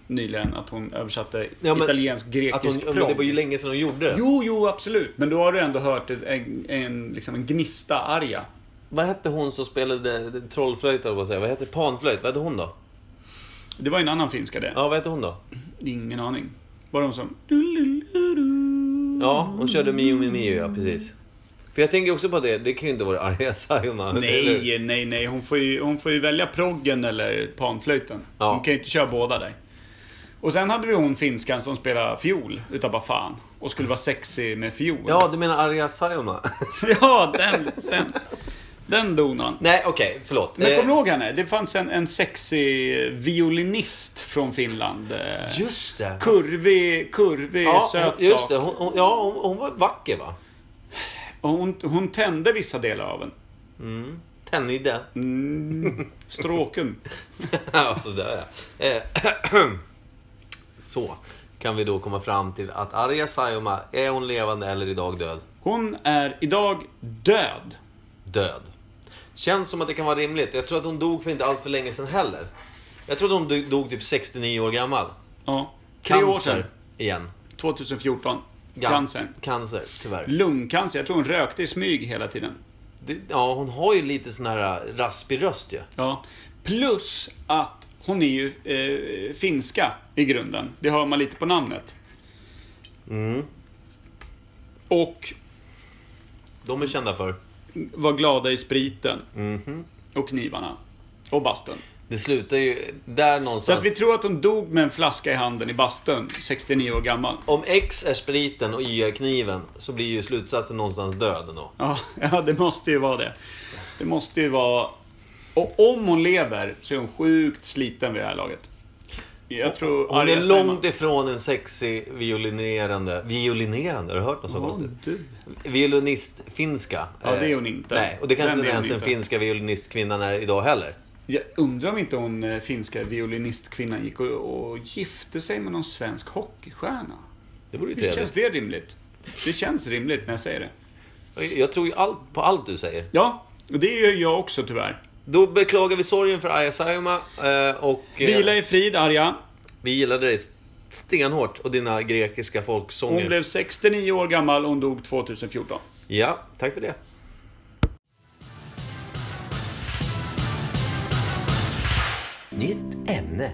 [SPEAKER 2] nyligen, att hon översatte
[SPEAKER 1] Ja, men-
[SPEAKER 2] italiensk
[SPEAKER 1] Att
[SPEAKER 2] grekisk
[SPEAKER 1] hon, men det var ju
[SPEAKER 2] progg.
[SPEAKER 1] länge sedan hon gjorde det.
[SPEAKER 2] Jo, jo, absolut. Men då har du ändå hört en, en, en, liksom en gnista Arja.
[SPEAKER 1] Vad hette hon som spelade eh, trollflöjt eller vad säger jag? Vad hette panflöjt? Vad hette hon då?
[SPEAKER 2] Det var ju en annan finska det.
[SPEAKER 1] Ja, vad hette hon då?
[SPEAKER 2] Ingen aning. Var de som...
[SPEAKER 1] Ja, hon körde Mio Mio Mio, ja precis. För jag tänker också på det, det kan ju inte vara Arja Saijonmaa. eller hur?
[SPEAKER 2] Nej, nej, nej. Hon får ju, hon får ju välja proggen eller panflöjten.
[SPEAKER 1] Ja.
[SPEAKER 2] Hon kan ju inte köra båda där. Och sen hade vi hon finskan som spelade fiol utav bara fan. Och skulle vara sexig med fiol.
[SPEAKER 1] Ja, du menar Arja Saijonmaa?
[SPEAKER 2] ja den, den, den donan.
[SPEAKER 1] Nej, okej, förlåt.
[SPEAKER 2] Men
[SPEAKER 1] Eh,
[SPEAKER 2] kommer du ihåg henne? Det fanns en, en sexig violinist från Finland. Eh,
[SPEAKER 1] Just det.
[SPEAKER 2] Kurvig, kurvig,
[SPEAKER 1] Ja,
[SPEAKER 2] söt
[SPEAKER 1] hon- just
[SPEAKER 2] sak.
[SPEAKER 1] det. Hon, hon, ja, hon, hon var vacker va?
[SPEAKER 2] Och hon, hon tände vissa delar av en.
[SPEAKER 1] Tennide.
[SPEAKER 2] Mm, stråken.
[SPEAKER 1] Ja, sådär ja. Eh, Så kan vi då komma fram till att Arja Saijonmaa, är hon levande eller idag död?
[SPEAKER 2] Hon är idag död.
[SPEAKER 1] Död. Känns som att det kan vara rimligt. Jag tror att hon dog för inte allt för länge sedan heller. Jag tror att hon dog- dog typ 69 år gammal.
[SPEAKER 2] Ja. Tre år sedan.
[SPEAKER 1] igen.
[SPEAKER 2] 2014.
[SPEAKER 1] Gan-
[SPEAKER 2] Cancer. Mm.
[SPEAKER 1] Cancer, tyvärr.
[SPEAKER 2] Lungcancer. Jag tror hon rökte i smyg hela tiden.
[SPEAKER 1] Det, ja, hon har ju lite sån här äh, raspig röst ju.
[SPEAKER 2] Ja. Plus att hon är ju eh, finska i grunden. Det hör man lite på namnet. Och
[SPEAKER 1] De är kända för.
[SPEAKER 2] var glada i spriten. Och knivarna. Och bastun.
[SPEAKER 1] Det slutar ju där någonstans.
[SPEAKER 2] Så att vi tror att hon dog med en flaska i handen i bastun, 69 år gammal.
[SPEAKER 1] Om X är spriten och Y är kniven så blir ju slutsatsen någonstans död ändå.
[SPEAKER 2] Ja, ja, det måste ju vara det. Det måste ju vara... Och om hon lever så är hon sjukt sliten vid det här laget. Jag tror...
[SPEAKER 1] Hon
[SPEAKER 2] Arja
[SPEAKER 1] är
[SPEAKER 2] Saijonmaa-
[SPEAKER 1] långt ifrån en sexig violinerande... Violinerande? Har du hört något så
[SPEAKER 2] Ja,
[SPEAKER 1] konstigt?
[SPEAKER 2] du.
[SPEAKER 1] Violinist-finska.
[SPEAKER 2] Ja, det är hon
[SPEAKER 1] Eh,
[SPEAKER 2] inte.
[SPEAKER 1] Nej, och det kanske
[SPEAKER 2] Den
[SPEAKER 1] inte
[SPEAKER 2] är
[SPEAKER 1] ens
[SPEAKER 2] hon
[SPEAKER 1] den
[SPEAKER 2] inte.
[SPEAKER 1] finska violinistkvinnan är idag heller.
[SPEAKER 2] Jag undrar om inte hon eh, finska violinistkvinnan gick och, och gifte sig med någon svensk hockeystjärna.
[SPEAKER 1] Det vore ju
[SPEAKER 2] Visst känns
[SPEAKER 1] trevligt.
[SPEAKER 2] det rimligt? Det känns rimligt när jag säger det.
[SPEAKER 1] Jag tror ju allt på allt du säger.
[SPEAKER 2] Ja, och det gör jag också tyvärr.
[SPEAKER 1] Då beklagar vi sorgen för Arja Saijonmaa eh, och... eh,
[SPEAKER 2] Vila i frid, Arja.
[SPEAKER 1] Vi gillade dig stenhårt och dina grekiska
[SPEAKER 2] Hon
[SPEAKER 1] folksånger.
[SPEAKER 2] blev 69 år gammal och hon dog 2014.
[SPEAKER 1] Ja, tack för det. Nytt ämne.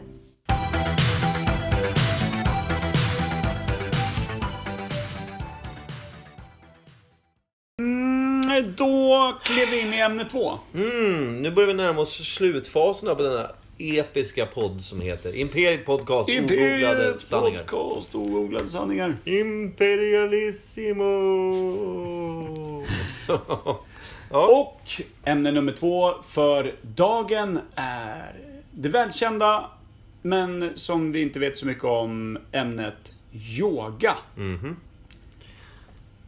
[SPEAKER 2] Mm, då klev vi in i ämne två.
[SPEAKER 1] Mm, nu börjar vi närma oss slutfasen på denna episka podd som heter Imperiet Podcast Ogooglade
[SPEAKER 2] Imperiets
[SPEAKER 1] sanningar.
[SPEAKER 2] podcast Ogooglade sanningar.
[SPEAKER 1] Imperialissimo! Ja.
[SPEAKER 2] Och ämne nummer två för dagen är det välkända, men som vi inte vet så mycket om, ämnet yoga.
[SPEAKER 1] Mhm.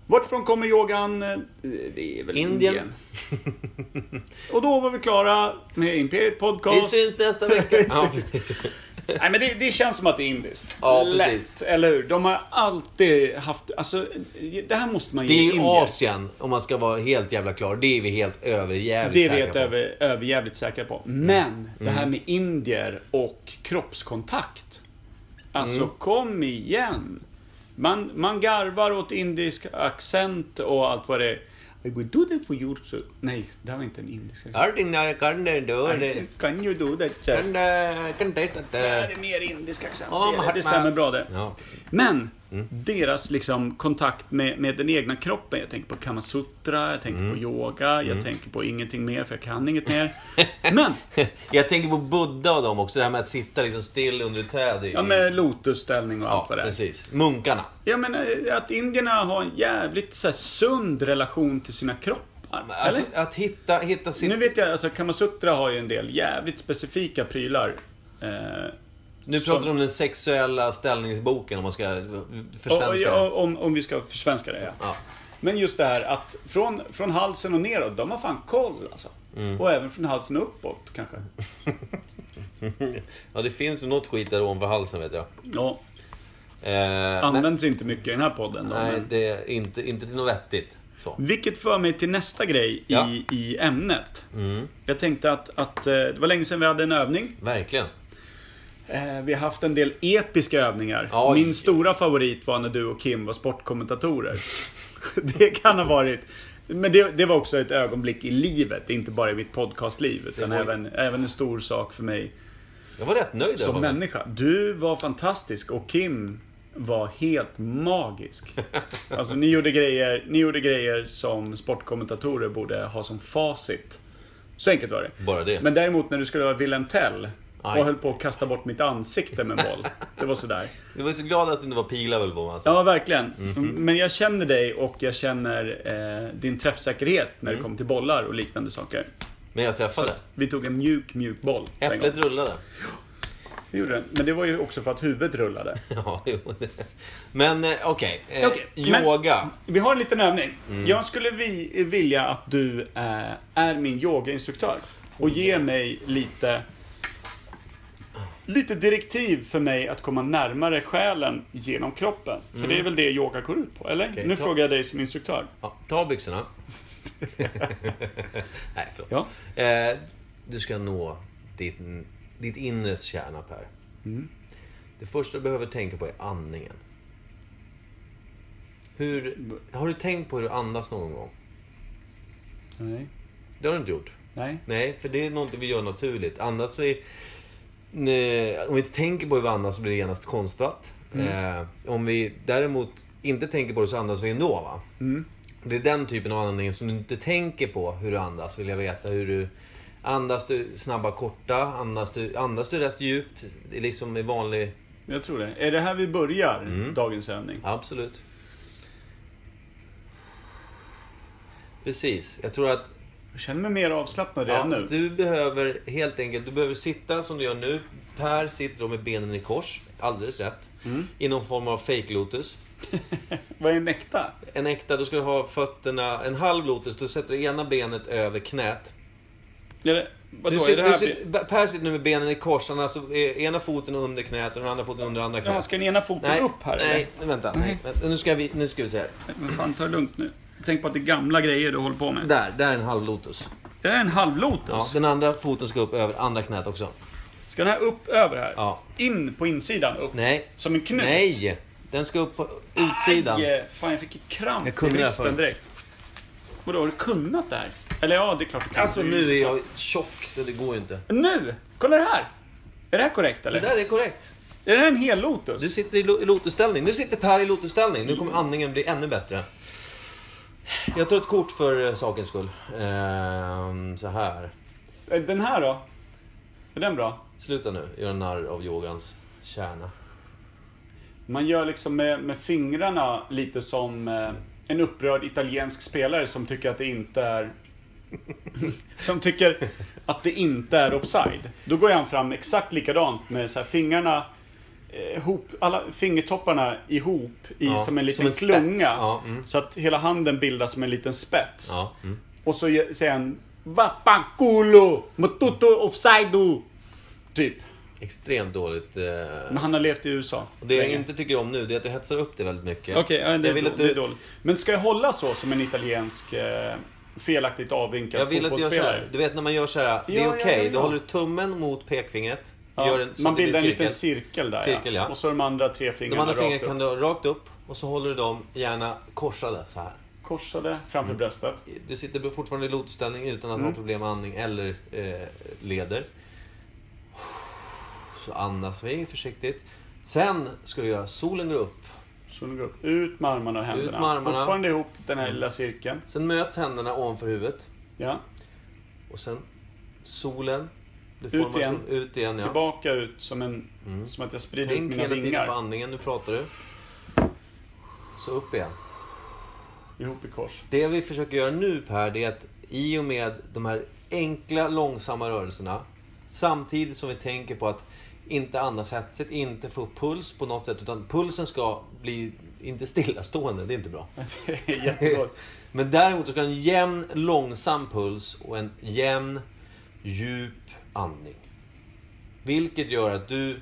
[SPEAKER 2] Vartifrån kommer yogan? Eh, Det är väl
[SPEAKER 1] Indien.
[SPEAKER 2] Indien. Och då var vi klara med Imperiet
[SPEAKER 1] Vi
[SPEAKER 2] Podcast.
[SPEAKER 1] syns nästa vecka. Ja, precis.
[SPEAKER 2] Nej, men det, det känns som att det är indiskt.
[SPEAKER 1] Ja, precis.
[SPEAKER 2] Lätt, eller hur? De har alltid haft... Alltså, det här måste man
[SPEAKER 1] Det
[SPEAKER 2] ge
[SPEAKER 1] är ju
[SPEAKER 2] Indien.
[SPEAKER 1] Asien, om man ska vara helt jävla klar. Det är vi helt överjävligt
[SPEAKER 2] Det är
[SPEAKER 1] säkra
[SPEAKER 2] vi helt
[SPEAKER 1] på. Mm.
[SPEAKER 2] över, överjävligt säkra på. Men det här med indier och kroppskontakt. Alltså
[SPEAKER 1] Mm.
[SPEAKER 2] kom igen. Man, man garvar åt indisk accent och allt vad det är. I would do that for you. sir. Nej, det här var inte en indisk accent.
[SPEAKER 1] Ardina kan du då, det-
[SPEAKER 2] Can you do that? sir?
[SPEAKER 1] kan du- kan du testa
[SPEAKER 2] Det här
[SPEAKER 1] det?
[SPEAKER 2] är mer indisk accent.
[SPEAKER 1] Ja,
[SPEAKER 2] Det är det.
[SPEAKER 1] Mahatma.
[SPEAKER 2] det stämmer bra det.
[SPEAKER 1] Ja. Mm.
[SPEAKER 2] Men deras liksom kontakt med, med den egna kroppen. Jag tänker på Kamasutra, jag tänker
[SPEAKER 1] Mm.
[SPEAKER 2] på yoga, jag tänker på ingenting mer för jag kan inget mer. Men!
[SPEAKER 1] Jag tänker på Buddha och dem också. Det här med att sitta liksom still under ett träd. i-
[SPEAKER 2] Ja, med lotusställning och
[SPEAKER 1] Mm. ja,
[SPEAKER 2] allt vad det är.
[SPEAKER 1] precis. Munkarna.
[SPEAKER 2] Jag menar eh, att indierna har en jävligt så här, sund relation till sina kroppar.
[SPEAKER 1] Alltså,
[SPEAKER 2] Eller?
[SPEAKER 1] att hitta, hitta sitt...
[SPEAKER 2] Nu vet jag, alltså Kamasutra har ju en del jävligt specifika prylar. Eh,
[SPEAKER 1] Nu pratar
[SPEAKER 2] Som-
[SPEAKER 1] du om den sexuella ställningsboken om man ska
[SPEAKER 2] och,
[SPEAKER 1] försvenska det.
[SPEAKER 2] och, om, om vi ska försvenska det, ja.
[SPEAKER 1] Ja.
[SPEAKER 2] Men just det här att från, från halsen och neråt, de har fan koll alltså.
[SPEAKER 1] Mm.
[SPEAKER 2] Och även från halsen uppåt kanske.
[SPEAKER 1] ja, det finns ju något skit där ovanför halsen vet jag.
[SPEAKER 2] Ja,
[SPEAKER 1] Eh, nej,
[SPEAKER 2] används inte mycket i den här podden då,
[SPEAKER 1] nej,
[SPEAKER 2] men...
[SPEAKER 1] det är inte, inte till något vettigt. Så.
[SPEAKER 2] Vilket för mig till nästa grej
[SPEAKER 1] Ja. Mm.
[SPEAKER 2] i, i ämnet. Jag tänkte att, att eh, det var länge sedan vi hade en övning.
[SPEAKER 1] Verkligen.
[SPEAKER 2] Eh, Vi har haft en del episka övningar.
[SPEAKER 1] Oj.
[SPEAKER 2] Min stora favorit var när du och Kim var sportkommentatorer. Det kan ha varit... Men det, det var också ett ögonblick i livet, inte bara i mitt podcastliv. Utan
[SPEAKER 1] var-
[SPEAKER 2] även, även en stor sak för mig
[SPEAKER 1] Jag var rätt nöjd
[SPEAKER 2] som
[SPEAKER 1] över mig.
[SPEAKER 2] människa. Du var fantastisk och Kim var helt magisk. Alltså ni gjorde grejer, ni gjorde grejer som sportkommentatorer borde ha som facit. Så enkelt var det.
[SPEAKER 1] Bara det.
[SPEAKER 2] Men däremot när du skulle vara Wilhelm Tell och
[SPEAKER 1] Aj.
[SPEAKER 2] höll på att kasta bort mitt ansikte med boll. Det var sådär.
[SPEAKER 1] Jag var så glad att det inte var piglevel på mig. Alltså.
[SPEAKER 2] Ja, verkligen. Men jag känner dig och jag känner eh, din träffsäkerhet när
[SPEAKER 1] Mm.
[SPEAKER 2] det kommer till bollar och liknande saker.
[SPEAKER 1] Men jag träffade.
[SPEAKER 2] Vi tog en mjuk, mjuk boll. på en
[SPEAKER 1] Äpplet
[SPEAKER 2] gång.
[SPEAKER 1] rullade.
[SPEAKER 2] Vi gjorde den. Men det var ju också för att huvudet rullade.
[SPEAKER 1] Ja, jo. Men eh, okej. Eh,
[SPEAKER 2] Okej, men-
[SPEAKER 1] yoga.
[SPEAKER 2] Vi har en liten övning. Jag skulle vi, vilja att du eh, är min yogainstruktör och ger mig lite, lite direktiv för mig att komma närmare själen genom kroppen. För det är väl det yoga går ut på, eller?
[SPEAKER 1] Okej,
[SPEAKER 2] nu
[SPEAKER 1] ta-
[SPEAKER 2] frågar jag dig som instruktör.
[SPEAKER 1] Ja, ta byxorna. Nej, förlåt.
[SPEAKER 2] Ja.
[SPEAKER 1] Eh, du ska nå ditt, ditt inre kärna, Per. Det första du behöver tänka på är andningen. Hur, har du tänkt på hur du andas någon gång?
[SPEAKER 2] Nej.
[SPEAKER 1] Det har du inte gjort.
[SPEAKER 2] Nej.
[SPEAKER 1] Nej, för det är något vi gör naturligt. Annars så är... Nej, Om vi inte tänker på hur vi andas så blir det genast konstlat. Eh, om vi däremot inte tänker på det så andas vi ändå. Va? Det är den typen av andning som du inte tänker på hur du andas. Vill jag veta hur du... Andas du snabba, korta? Andas du, andas du rätt djupt? Det är liksom i vanlig...
[SPEAKER 2] Jag tror det. Är det här vi börjar dagens övning?
[SPEAKER 1] Absolut. Precis. Jag tror att
[SPEAKER 2] Jag känner mig mer avslappnad redan nu.
[SPEAKER 1] Du behöver helt enkelt, du behöver sitta som du gör nu. Per sitter då med benen i kors, alldeles rätt.
[SPEAKER 2] Mm.
[SPEAKER 1] I någon form av fake lotus.
[SPEAKER 2] Vad är en äkta?
[SPEAKER 1] En äkta, då ska du ha fötterna, en halv lotus, då sätter du ena benet över knät.
[SPEAKER 2] Är det, vadå,
[SPEAKER 1] Du
[SPEAKER 2] är det
[SPEAKER 1] sitter, du
[SPEAKER 2] här...
[SPEAKER 1] sitter, per sitter nu med benen i kors, han har alltså eh, ena foten under knät och den andra foten under andra
[SPEAKER 2] Jaha,
[SPEAKER 1] knät.
[SPEAKER 2] ska den ena foten
[SPEAKER 1] Nej,
[SPEAKER 2] upp här Mm.
[SPEAKER 1] nej, vänta. Nej. vänta. Nu, ska vi, nu ska vi se här.
[SPEAKER 2] eller? Men fan, ta det lugnt nu. Tänk på att det är gamla grejer du håller på med.
[SPEAKER 1] Där, där är en halv lotus.
[SPEAKER 2] Det här är en halvlotus.
[SPEAKER 1] Ja, den andra foten ska upp över andra knät också.
[SPEAKER 2] Ska den här upp över här?
[SPEAKER 1] Ja.
[SPEAKER 2] In på insidan? Upp?
[SPEAKER 1] Nej.
[SPEAKER 2] Som en knut?
[SPEAKER 1] Nej! Den ska upp på utsidan.
[SPEAKER 2] Aj, Eh, fan jag fick ett kramp
[SPEAKER 1] Jag kunde
[SPEAKER 2] i
[SPEAKER 1] det här
[SPEAKER 2] bristen
[SPEAKER 1] förut.
[SPEAKER 2] direkt. Vadå, har du kunnat det här? Eller ja, det är klart du kan.
[SPEAKER 1] Alltså
[SPEAKER 2] Det ju
[SPEAKER 1] nu
[SPEAKER 2] så-
[SPEAKER 1] är jag tjock så det går ju inte.
[SPEAKER 2] Nu! Kolla det här! Är det här korrekt eller?
[SPEAKER 1] Det där är korrekt.
[SPEAKER 2] Är det här en hel lotus?
[SPEAKER 1] Du sitter i lo- i lotusställning. Nu sitter Per i lotusställning. Nu
[SPEAKER 2] Mm.
[SPEAKER 1] kommer andningen bli ännu bättre. Jag tar ett kort för eh, sakens skull. Ehm, så här.
[SPEAKER 2] Eh, Den här då? Är den bra?
[SPEAKER 1] Sluta nu, göra narr av yogans kärna.
[SPEAKER 2] Man gör liksom med, med fingrarna lite som eh, en upprörd italiensk spelare som tycker att det inte är som tycker att det inte är offside. Då går han fram exakt likadant med så här fingrarna eh, ihop, alla fingertopparna ihop i,
[SPEAKER 1] Ja,
[SPEAKER 2] som en liten
[SPEAKER 1] som en spets.
[SPEAKER 2] klunga.
[SPEAKER 1] Ja, mm.
[SPEAKER 2] Så att hela handen bildas som en liten spets.
[SPEAKER 1] Ja, mm.
[SPEAKER 2] Och så ge- säger han Va fan culo! Motuto offside! Typ.
[SPEAKER 1] Extremt dåligt. Eh,
[SPEAKER 2] Men han har levt i USA.
[SPEAKER 1] det jag
[SPEAKER 2] länge.
[SPEAKER 1] inte tycker om nu det är att du hetsar upp det väldigt mycket.
[SPEAKER 2] Okej, ja,
[SPEAKER 1] jag
[SPEAKER 2] det, är
[SPEAKER 1] vill
[SPEAKER 2] då-
[SPEAKER 1] att
[SPEAKER 2] det är
[SPEAKER 1] du,
[SPEAKER 2] dåligt. Men ska jag hålla så som en italiensk eh, felaktigt avvinkad
[SPEAKER 1] jag vill att du gör så
[SPEAKER 2] fotbollsspelare?
[SPEAKER 1] här. Du vet när man gör så här. Det är
[SPEAKER 2] Ja, ja,
[SPEAKER 1] okej.
[SPEAKER 2] ja,
[SPEAKER 1] Då
[SPEAKER 2] ja.
[SPEAKER 1] håller du tummen mot pekfingret.
[SPEAKER 2] Ja,
[SPEAKER 1] gör en, så
[SPEAKER 2] man
[SPEAKER 1] att det blir
[SPEAKER 2] bildar en liten cirkel där
[SPEAKER 1] Cirkel, ja.
[SPEAKER 2] Och så de andra tre
[SPEAKER 1] De
[SPEAKER 2] fingrarna
[SPEAKER 1] andra
[SPEAKER 2] rakt
[SPEAKER 1] fingrarna
[SPEAKER 2] upp.
[SPEAKER 1] kan du ha rakt upp och så håller du dem gärna korsade så här.
[SPEAKER 2] Korsade
[SPEAKER 1] Mm.
[SPEAKER 2] framför bröstet.
[SPEAKER 1] Du sitter fortfarande i lotusställning utan att
[SPEAKER 2] Mm.
[SPEAKER 1] ha problem med andning eller eh, leder. Så andas vi försiktigt. Sen ska du göra solen går upp.
[SPEAKER 2] Så nu går upp. Ut med armarna och händerna.
[SPEAKER 1] med armarna. Mm.
[SPEAKER 2] Fortfarande ihop den här lilla cirkeln.
[SPEAKER 1] Sen möts händerna ovanför huvudet.
[SPEAKER 2] Ja.
[SPEAKER 1] Och sen solen. Du
[SPEAKER 2] Ut
[SPEAKER 1] formar
[SPEAKER 2] igen.
[SPEAKER 1] sol- Ut igen ja. Mm.
[SPEAKER 2] Tillbaka ut som, en, som att jag sprider ut
[SPEAKER 1] Tänk
[SPEAKER 2] mina
[SPEAKER 1] hela tiden på
[SPEAKER 2] vingar.
[SPEAKER 1] andningen. Nu pratar du. Så upp igen.
[SPEAKER 2] Ihop i kors.
[SPEAKER 1] Det vi försöker göra nu Per, det är att i och med de här enkla, långsamma rörelserna, samtidigt som vi tänker på att inte andas hetsigt, inte få upp puls på något sätt, utan pulsen ska bli, inte stillastående, det är inte bra.
[SPEAKER 2] Det är jättegott.
[SPEAKER 1] Men däremot ska en jämn, långsam puls och en jämn, djup andning. Vilket gör att du...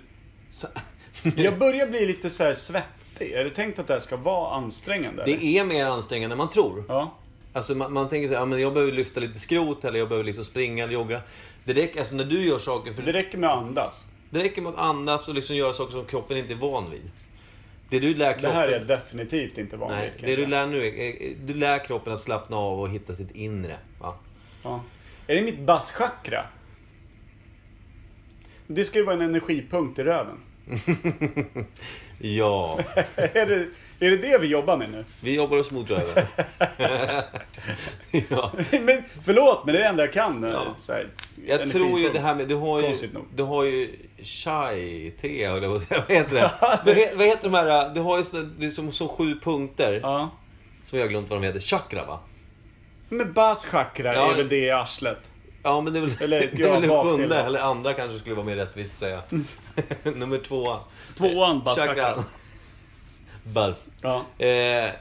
[SPEAKER 2] Jag börjar bli lite så här svettig. Är det tänkt att det här ska vara ansträngande? eller?
[SPEAKER 1] Det är mer ansträngande än man tror.
[SPEAKER 2] Ja.
[SPEAKER 1] Alltså man, man tänker så här, ja, men jag behöver lyfta lite skrot eller jag behöver liksom springa eller jogga. Det räcker, alltså när du gör saker, för
[SPEAKER 2] Det räcker med att andas.
[SPEAKER 1] det räcker med att andas och liksom göra saker som kroppen inte är van vid. Det du lär
[SPEAKER 2] Det
[SPEAKER 1] kroppen...
[SPEAKER 2] här är definitivt inte vanligt.
[SPEAKER 1] Nej,
[SPEAKER 2] kan jag
[SPEAKER 1] det du
[SPEAKER 2] säga.
[SPEAKER 1] lär nu är, är- du lär kroppen att slappna av och hitta sitt inre. Va?
[SPEAKER 2] Ja. Är det mitt basschakra? Det ska ju vara en energipunkt i röven.
[SPEAKER 1] Ja,
[SPEAKER 2] är, det, är det det vi jobbar med nu?
[SPEAKER 1] vi jobbar oss mot röven. ja.
[SPEAKER 2] men, förlåt, men det är det enda jag kan. eh,
[SPEAKER 1] Ja.
[SPEAKER 2] Så här,
[SPEAKER 1] Jag tror ju det här med, du har ju,
[SPEAKER 2] Konstigt nog.
[SPEAKER 1] du har ju chai, te höll jag på att säga. Vad heter det? vad, he- vad heter de här, du har ju såna, det är som, som sju punkter.
[SPEAKER 2] Ja.
[SPEAKER 1] Som jag har glömt vad de heter. Chakra va?
[SPEAKER 2] Men basschakra
[SPEAKER 1] Ja.
[SPEAKER 2] är väl det i arslet?
[SPEAKER 1] Ja men det är väl,
[SPEAKER 2] Eller,
[SPEAKER 1] det är
[SPEAKER 2] ja,
[SPEAKER 1] väl den
[SPEAKER 2] bakdel,
[SPEAKER 1] sjunde,
[SPEAKER 2] va?
[SPEAKER 1] eller andra kanske skulle vara mer rättvist att säga. Nummer två.
[SPEAKER 2] Tvåan,
[SPEAKER 1] Chakran.
[SPEAKER 2] basschakra.
[SPEAKER 1] Buzz.
[SPEAKER 2] Ja,
[SPEAKER 1] Eh,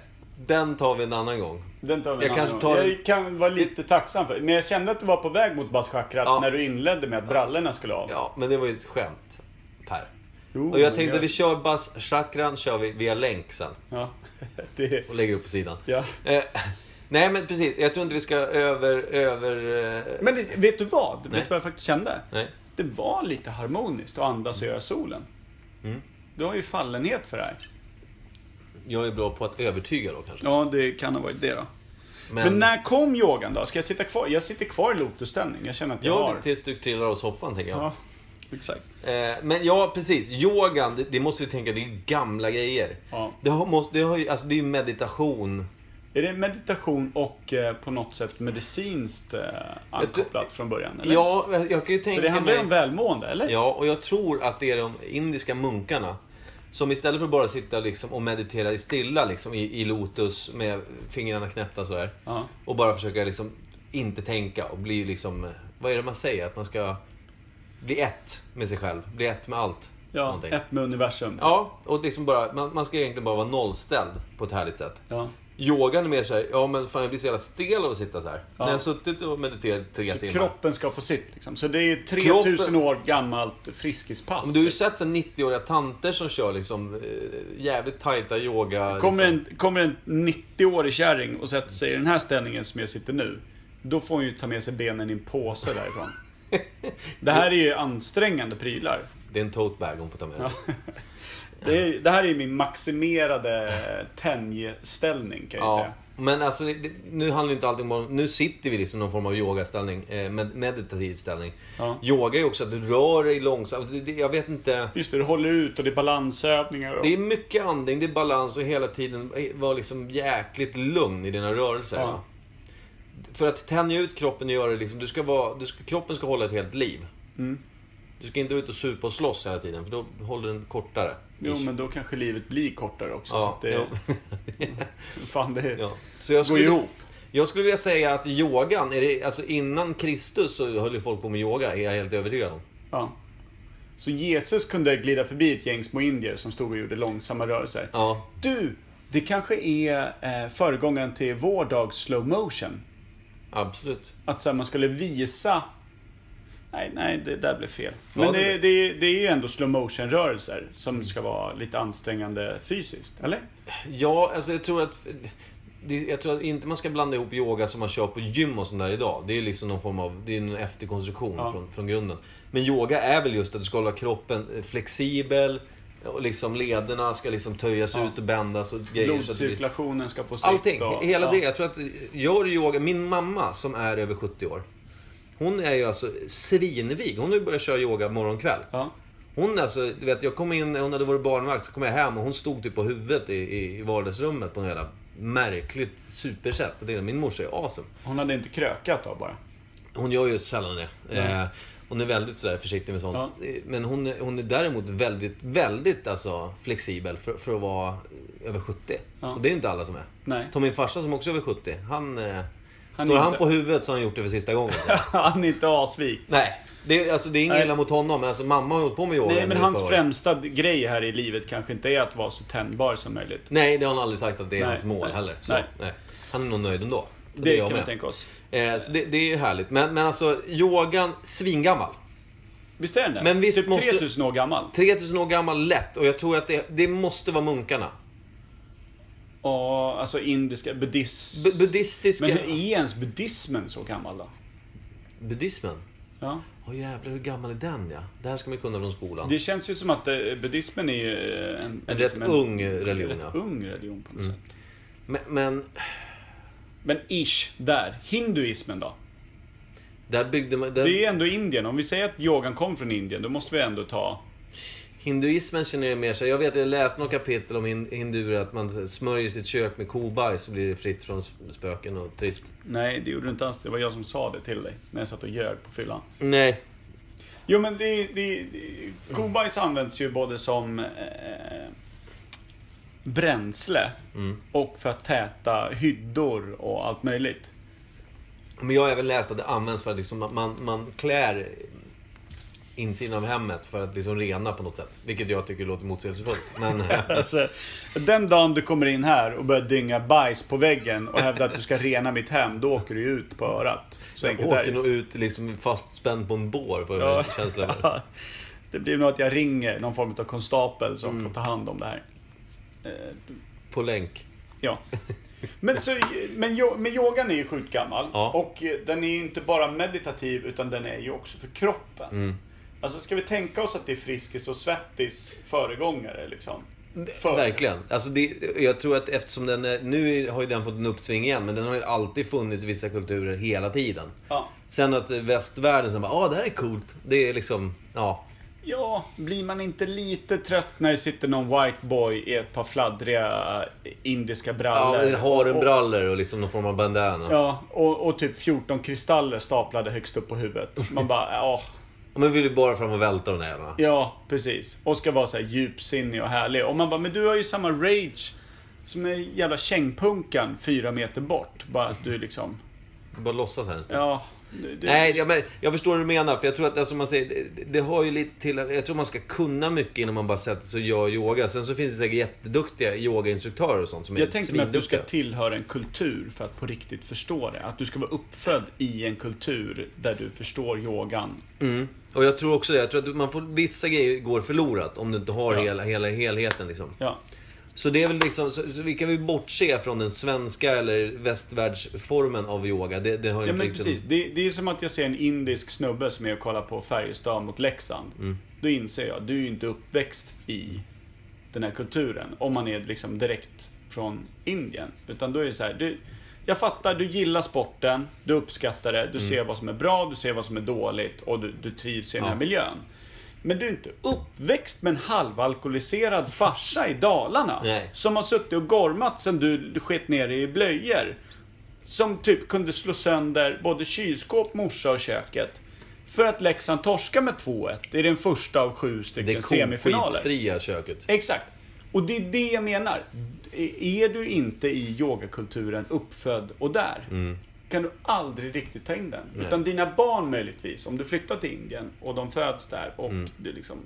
[SPEAKER 1] den tar vi en annan gång.
[SPEAKER 2] den tar vi
[SPEAKER 1] Jag
[SPEAKER 2] en
[SPEAKER 1] kanske
[SPEAKER 2] annan
[SPEAKER 1] tar
[SPEAKER 2] gång.
[SPEAKER 1] en-
[SPEAKER 2] jag kan vara lite tacksam för Men jag kände att du var på väg mot basschakrat
[SPEAKER 1] Ja.
[SPEAKER 2] när du inledde med att brallorna skulle av.
[SPEAKER 1] Ja, men det var ju ett skämt. Per.
[SPEAKER 2] Jo,
[SPEAKER 1] Och jag
[SPEAKER 2] men
[SPEAKER 1] tänkte vi kör buzz-chakran kör vi via länk sen.
[SPEAKER 2] Ja. det...
[SPEAKER 1] Och lägger upp på sidan.
[SPEAKER 2] Ja.
[SPEAKER 1] Eh, nej men precis, jag tror inte vi ska över... över eh,
[SPEAKER 2] Men det, vet du vad? Vet
[SPEAKER 1] Nej.
[SPEAKER 2] du vad jag faktiskt kände?
[SPEAKER 1] nej.
[SPEAKER 2] Det var lite harmoniskt att andas och göra solen.
[SPEAKER 1] Mm.
[SPEAKER 2] Du har ju fallenhet för det här.
[SPEAKER 1] Jag är bra på att övertyga då kanske.
[SPEAKER 2] Ja, det kan ha varit det då. Men, när kom yogan då? Ska jag sitta kvar? Jag sitter kvar i lotusställning. Jag känner att jag
[SPEAKER 1] Jag
[SPEAKER 2] har...
[SPEAKER 1] det tills du trillar av soffan tänker jag.
[SPEAKER 2] Ja, exakt.
[SPEAKER 1] Eh, men ja, precis. Yogan, det, det måste vi tänka, det är ju gamla grejer.
[SPEAKER 2] Ja.
[SPEAKER 1] Det, har, måste, det, har, ju- alltså, det är ju meditation.
[SPEAKER 2] Är det meditation och eh, på något sätt medicinskt eh, ankopplat från början? Eller?
[SPEAKER 1] Ja, jag jag kan ju tänka
[SPEAKER 2] För det handlar ju
[SPEAKER 1] mig...
[SPEAKER 2] om välmående, eller?
[SPEAKER 1] Ja, och jag tror att det är de indiska munkarna som istället för att bara sitta liksom och meditera i stilla liksom, i, i lotus med fingrarna knäppta så här
[SPEAKER 2] Ja.
[SPEAKER 1] och bara försöka liksom inte tänka och bli liksom... Vad är det man säger? Att man ska bli ett med sig själv, bli ett med allt.
[SPEAKER 2] ja
[SPEAKER 1] någonting.
[SPEAKER 2] ett med universum.
[SPEAKER 1] Ja, och liksom bara, man, man ska egentligen bara vara nollställd på ett härligt sätt.
[SPEAKER 2] Ja.
[SPEAKER 1] Yogan är mer såhär, ja men fan jag blir så jävla stel av att sitta så här. När jag har suttit och mediterat i tre
[SPEAKER 2] Så
[SPEAKER 1] timmar.
[SPEAKER 2] kroppen ska få sitt liksom. Så det är 3000
[SPEAKER 1] Kroppen-
[SPEAKER 2] år gammalt friskispass.
[SPEAKER 1] Men du har ju sett så här 90-åriga tanter som kör liksom eh, jävligt tajta yoga...
[SPEAKER 2] Kommer
[SPEAKER 1] liksom.
[SPEAKER 2] en, kommer en 90-årig kärring och sätter sig i den här ställningen som jag sitter nu. Då får hon ju ta med sig benen i en påse därifrån. Det här är ju ansträngande prylar.
[SPEAKER 1] Det är en tote bag hon får ta med ja.
[SPEAKER 2] Det, är, det här är ju min maximerade tänjställning kan jag ju
[SPEAKER 1] ja.
[SPEAKER 2] säga.
[SPEAKER 1] Men alltså, det, nu handlar ju inte allting om... Nu sitter vi liksom i någon form av yogaställning, eh, med, meditativ ställning.
[SPEAKER 2] Ja.
[SPEAKER 1] Yoga är ju också att du rör dig långsamt. Det- det- Jag vet inte...
[SPEAKER 2] Just det, du håller ut och det är balansövningar och...
[SPEAKER 1] Det är mycket andning, det är balans och hela tiden vara liksom jäkligt lugn i dina rörelser.
[SPEAKER 2] Ja.
[SPEAKER 1] va? För att tänja ut kroppen och göra det liksom, du ska vara, du ska, kroppen ska hålla ett helt liv.
[SPEAKER 2] Mm.
[SPEAKER 1] Du ska inte vara ute och supa och slåss hela tiden, för då håller den kortare.
[SPEAKER 2] Jo, men då kanske livet blir kortare också. så
[SPEAKER 1] ja,
[SPEAKER 2] att det,
[SPEAKER 1] jo.
[SPEAKER 2] fan, det
[SPEAKER 1] ja. Så jag
[SPEAKER 2] går
[SPEAKER 1] skulle,
[SPEAKER 2] ihop.
[SPEAKER 1] Jag skulle vilja säga att yogan, är det, alltså innan Kristus så höll ju folk på med yoga, är jag helt övertygad om.
[SPEAKER 2] Ja. Så Jesus kunde glida förbi ett gäng små indier som stod och gjorde långsamma rörelser.
[SPEAKER 1] Ja.
[SPEAKER 2] Du, det kanske är eh, föregången till vår dags slow motion.
[SPEAKER 1] Absolut.
[SPEAKER 2] Att så här, man skulle visa... Nej, nej, det där blev fel. Men
[SPEAKER 1] Ja, det
[SPEAKER 2] det, det, det är ju ändå slow motion rörelser som ska vara lite ansträngande fysiskt, eller?
[SPEAKER 1] Ja, alltså jag tror att... Det, jag tror att inte man ska blanda ihop yoga som man kör på gym och sånt där idag. Det är liksom någon form av... Det är en efterkonstruktion
[SPEAKER 2] Ja.
[SPEAKER 1] från, från grunden. Men yoga är väl just att du ska hålla kroppen eh, flexibel. Och liksom lederna ska liksom töjas
[SPEAKER 2] Ja.
[SPEAKER 1] ut och bändas och grejer. så att det blir-
[SPEAKER 2] Blodcirkulationen ska få sitt
[SPEAKER 1] Allting,
[SPEAKER 2] och-
[SPEAKER 1] hela
[SPEAKER 2] ja.
[SPEAKER 1] det. Jag tror att, eh, gör du yoga, min mamma som är över 70 år. Hon är ju alltså svinvig. Hon har ju börjat köra yoga morgon och kväll.
[SPEAKER 2] Ja.
[SPEAKER 1] Hon alltså, du vet, jag kom in, hon hade varit barnvakt, så kom jag hem och hon stod typ på huvudet i, i, i vardagsrummet på något jävla märkligt supersätt. Så det är- Min morsa är awesome.
[SPEAKER 2] Hon hade inte krökat då bara.
[SPEAKER 1] Hon gör ju sällan det. Eh, hon är väldigt sådär försiktig med sånt.
[SPEAKER 2] Ja.
[SPEAKER 1] Eh, Men hon, är- hon är däremot väldigt, väldigt alltså, flexibel för, för att vara över 70.
[SPEAKER 2] Ja.
[SPEAKER 1] Och det är inte alla som är.
[SPEAKER 2] Nej.
[SPEAKER 1] Ta min farsa som också är över 70. Han, eh,
[SPEAKER 2] Han
[SPEAKER 1] står
[SPEAKER 2] är
[SPEAKER 1] han
[SPEAKER 2] inte-
[SPEAKER 1] på huvudet så har han gjort det för sista gången.
[SPEAKER 2] Han är inte asvik.
[SPEAKER 1] Nej. Det, är- alltså, det är inget
[SPEAKER 2] Nej.
[SPEAKER 1] illa mot honom, men alltså, mamma har hållit på med yoga
[SPEAKER 2] Nej,
[SPEAKER 1] nu
[SPEAKER 2] men
[SPEAKER 1] ett
[SPEAKER 2] hans
[SPEAKER 1] par år.
[SPEAKER 2] främsta grej här i livet kanske inte är att vara så tändbar som möjligt.
[SPEAKER 1] Nej, det har han aldrig sagt att det är
[SPEAKER 2] Nej.
[SPEAKER 1] hans mål
[SPEAKER 2] Nej.
[SPEAKER 1] heller. Så,
[SPEAKER 2] Nej.
[SPEAKER 1] nej. Han är nog nöjd ändå. Och
[SPEAKER 2] Det,
[SPEAKER 1] är jag
[SPEAKER 2] kan vi
[SPEAKER 1] med.
[SPEAKER 2] tänka oss.
[SPEAKER 1] Eh, så det, det är härligt. Men, men alltså, yogan, svingammal.
[SPEAKER 2] Visst är den det?
[SPEAKER 1] Men visst
[SPEAKER 2] typ
[SPEAKER 1] måste-
[SPEAKER 2] 3000 år gammal.
[SPEAKER 1] 3000 år gammal lätt. Och jag tror att det, det måste vara munkarna.
[SPEAKER 2] Ja, alltså indiska, buddhis...
[SPEAKER 1] Bu- buddhistiska-
[SPEAKER 2] Men hur är ens buddhismen så gammal då?
[SPEAKER 1] Buddhismen.
[SPEAKER 2] Ja.
[SPEAKER 1] Åh jävlar, hur gammal är den ja? Det här ska man kunna från skolan.
[SPEAKER 2] Det känns ju som att eh, buddhismen är ju eh, en...
[SPEAKER 1] En rätt
[SPEAKER 2] liksom
[SPEAKER 1] ung religion,
[SPEAKER 2] rätt
[SPEAKER 1] ja. Mm.
[SPEAKER 2] ung religion på något sätt.
[SPEAKER 1] Men, men
[SPEAKER 2] Men ish, där. Hinduismen då?
[SPEAKER 1] där byggde man... Där,
[SPEAKER 2] Det är ändå Indien. Om vi säger att yogan kom från Indien, då måste vi ändå ta...
[SPEAKER 1] Hinduismen känner jag mer så här- Jag vet, jag läste något kapitel om hin- hinduer, att man smörjer sitt kök med kobajs så blir det fritt från spöken och trist.
[SPEAKER 2] Nej, det gjorde du inte alls. Det var jag som sa det till dig. När jag satt och ljög på fyllan.
[SPEAKER 1] Nej.
[SPEAKER 2] Jo men det, det, det kobajs används ju både som eh, bränsle
[SPEAKER 1] Mm.
[SPEAKER 2] och för att täta hyddor och allt möjligt.
[SPEAKER 1] Men jag har även läst att det används för att liksom, man, man klär insidan av hemmet för att liksom rena på något sätt. Vilket jag tycker låter motsägelsefullt. Men
[SPEAKER 2] Alltså, den dagen du kommer in här och börjar dynga bajs på väggen och hävdar att du ska rena mitt hem, då åker du ju ut på örat. Så
[SPEAKER 1] jag
[SPEAKER 2] enkelt är
[SPEAKER 1] åker nog
[SPEAKER 2] det.
[SPEAKER 1] ut liksom fastspänd på en bår, får jag
[SPEAKER 2] Ja.
[SPEAKER 1] en känsla över.
[SPEAKER 2] Det blir nog att jag ringer någon form av konstapel
[SPEAKER 1] Mm.
[SPEAKER 2] som får ta hand om det här.
[SPEAKER 1] På länk.
[SPEAKER 2] Ja. Men, så, men, yo- men yogan är ju sjukt gammal.
[SPEAKER 1] Ja.
[SPEAKER 2] Och eh, den är ju inte bara meditativ, utan den är ju också för kroppen.
[SPEAKER 1] Mm.
[SPEAKER 2] Alltså, ska vi tänka oss att det är Friskis och Svettis föregångare, liksom? Förr.
[SPEAKER 1] Verkligen. Alltså det, jag tror att eftersom den är, Nu har ju den fått en uppsving igen, men den har ju alltid funnits i vissa kulturer hela tiden.
[SPEAKER 2] Ja.
[SPEAKER 1] Sen att västvärlden sen bara, ah det här är coolt. Det är liksom, ja.
[SPEAKER 2] ja, blir man inte lite trött när det sitter någon white boy i ett par fladdriga indiska brallor?
[SPEAKER 1] ja har en
[SPEAKER 2] Och-
[SPEAKER 1] brallor och liksom någon form av bandana.
[SPEAKER 2] Ja, och, och typ 14 kristaller staplade högst upp på huvudet. Man bara, ja.
[SPEAKER 1] Och man vill ju bara fram och välta de där jävlarna.
[SPEAKER 2] Ja, precis. Och ska vara så här djupsinnig och härlig. Och man bara, men du har ju samma rage som den jävla kängpunkan fyra meter bort. Bara att du liksom...
[SPEAKER 1] Bara låtsas här en stund.
[SPEAKER 2] Ja. Du, du-
[SPEAKER 1] Nej, jag, men, jag förstår vad du menar. För jag tror att alltså, man säger, det, det har ju lite till... Jag tror man ska kunna mycket innan man bara sätter sig och gör yoga. Sen så finns det säkert jätteduktiga yogainstruktörer och sånt som är
[SPEAKER 2] jag tänkte mig att du ska
[SPEAKER 1] svinduktiga.
[SPEAKER 2] tillhöra en kultur för att på riktigt förstå det. Att du ska vara uppfödd i en kultur där du förstår yogan.
[SPEAKER 1] Mm. Och jag tror också det. Jag tror att man får, vissa grejer går förlorat om du inte har
[SPEAKER 2] Ja.
[SPEAKER 1] hela, hela helheten. Liksom.
[SPEAKER 2] Ja.
[SPEAKER 1] Så det är väl liksom... Så, så vi kan vi bortse från den svenska eller västvärldsformen av yoga. Det, det har ju
[SPEAKER 2] Ja
[SPEAKER 1] inte
[SPEAKER 2] men
[SPEAKER 1] riktigt-
[SPEAKER 2] precis. Det, det är som att jag ser en indisk snubbe som är och kollar på Färjestad mot Leksand.
[SPEAKER 1] Mm.
[SPEAKER 2] Då inser jag, du är ju inte uppväxt i den här kulturen. Om man är liksom direkt från Indien. Utan då är det så här, du, jag fattar, du gillar sporten, du uppskattar det,
[SPEAKER 1] Mm.
[SPEAKER 2] du ser vad som är bra, du ser vad som är dåligt och du, du trivs i den här
[SPEAKER 1] Ja.
[SPEAKER 2] miljön. Men du är inte uppväxt med en halvalkoholiserad farsa i Dalarna.
[SPEAKER 1] Nej.
[SPEAKER 2] Som har suttit och gormat sen du sket ner dig i blöjor. Som typ kunde slå sönder både kylskåp, morsa och köket. För att Leksand torska med 2-1 i den första av sju
[SPEAKER 1] Det
[SPEAKER 2] stycken semifinaler. Eh,
[SPEAKER 1] kokskitsfria köket.
[SPEAKER 2] Exakt. Och det är det jag menar. är du inte i yogakulturen uppfödd och där,
[SPEAKER 1] Mm.
[SPEAKER 2] kan du aldrig riktigt ta in den. Utan dina barn möjligtvis, om du flyttar till Indien och de föds där och
[SPEAKER 1] Mm.
[SPEAKER 2] du liksom...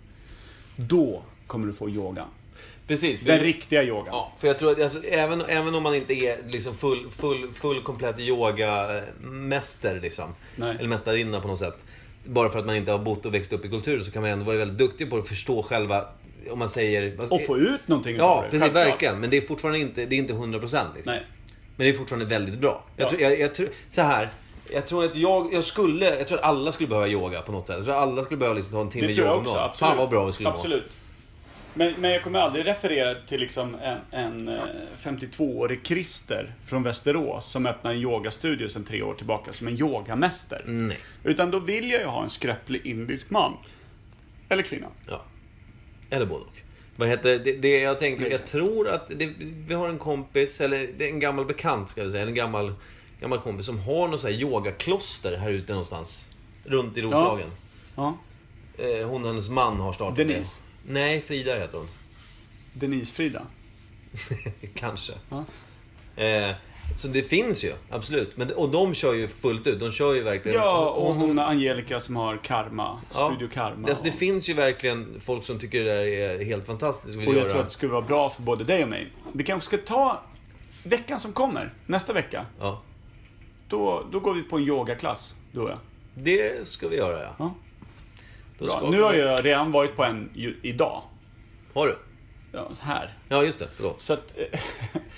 [SPEAKER 2] Då kommer du få yoga.
[SPEAKER 1] Precis. för-
[SPEAKER 2] Den riktiga yogan.
[SPEAKER 1] Ja, för jag tror att alltså, även, även om man inte är liksom full, full, full komplett yogamäster liksom,
[SPEAKER 2] Nej.
[SPEAKER 1] eller mästarinna på något sätt. Bara för att man inte har bott och växt upp i kulturen så kan man ändå vara väldigt duktig på att förstå själva, om man säger...
[SPEAKER 2] Och få ut någonting
[SPEAKER 1] Ja,
[SPEAKER 2] det,
[SPEAKER 1] precis.
[SPEAKER 2] självklart.
[SPEAKER 1] Verkligen. Men det är fortfarande inte, det är inte 100 procent. Liksom.
[SPEAKER 2] Nej.
[SPEAKER 1] Men det är fortfarande väldigt bra. Jag
[SPEAKER 2] Ja.
[SPEAKER 1] tror, jag, jag tror, så här. Jag tror att jag, jag skulle, jag tror att alla skulle behöva yoga på något sätt. Jag tror att alla skulle behöva liksom ta en timme
[SPEAKER 2] Det tror
[SPEAKER 1] yoga
[SPEAKER 2] jag
[SPEAKER 1] om
[SPEAKER 2] också,
[SPEAKER 1] dagen.
[SPEAKER 2] absolut.
[SPEAKER 1] Fan vad bra vi skulle vara.
[SPEAKER 2] absolut. Men, men jag kommer aldrig referera till liksom en, en eh, 52-årig Christer från Västerås som öppnade en yogastudio sedan tre år tillbaka som en yogamästare.
[SPEAKER 1] Nej.
[SPEAKER 2] Utan då vill jag ju ha en skröplig indisk man. Eller kvinna.
[SPEAKER 1] Ja. Eller både och. Vad heter det, det jag tänkte, jag
[SPEAKER 2] Exakt.
[SPEAKER 1] tror att det, vi har en kompis, eller det är en gammal bekant ska vi säga, en gammal, gammal kompis som har något så här yogakloster här ute någonstans. Runt i Roslagen.
[SPEAKER 2] Ja.
[SPEAKER 1] Eh, Hon och hennes man har startat
[SPEAKER 2] Denise.
[SPEAKER 1] det. Nej, Frida heter hon.
[SPEAKER 2] Denise-Frida.
[SPEAKER 1] Kanske.
[SPEAKER 2] Ja.
[SPEAKER 1] Eh, så det finns ju, absolut. Men, och de kör ju fullt ut. De kör ju verkligen...
[SPEAKER 2] Ja, och hon Angelica som har Karma. Studio Karma.
[SPEAKER 1] Alltså, det
[SPEAKER 2] och-
[SPEAKER 1] finns ju verkligen folk som tycker det där är helt fantastiskt. och vill
[SPEAKER 2] Och jag
[SPEAKER 1] göra.
[SPEAKER 2] tror att det skulle vara bra för både dig och mig. Vi kanske ska ta veckan som kommer, nästa vecka.
[SPEAKER 1] Ja.
[SPEAKER 2] Då, då går vi på en yogaklass, du och jag.
[SPEAKER 1] Det ska vi göra, ja.
[SPEAKER 2] Ja.
[SPEAKER 1] Då
[SPEAKER 2] Bra.
[SPEAKER 1] ska
[SPEAKER 2] Nu
[SPEAKER 1] vi-
[SPEAKER 2] har jag redan varit på en ju, idag.
[SPEAKER 1] Har du?
[SPEAKER 2] Ja, här.
[SPEAKER 1] Ja, just det. Förlåt.
[SPEAKER 2] Så att...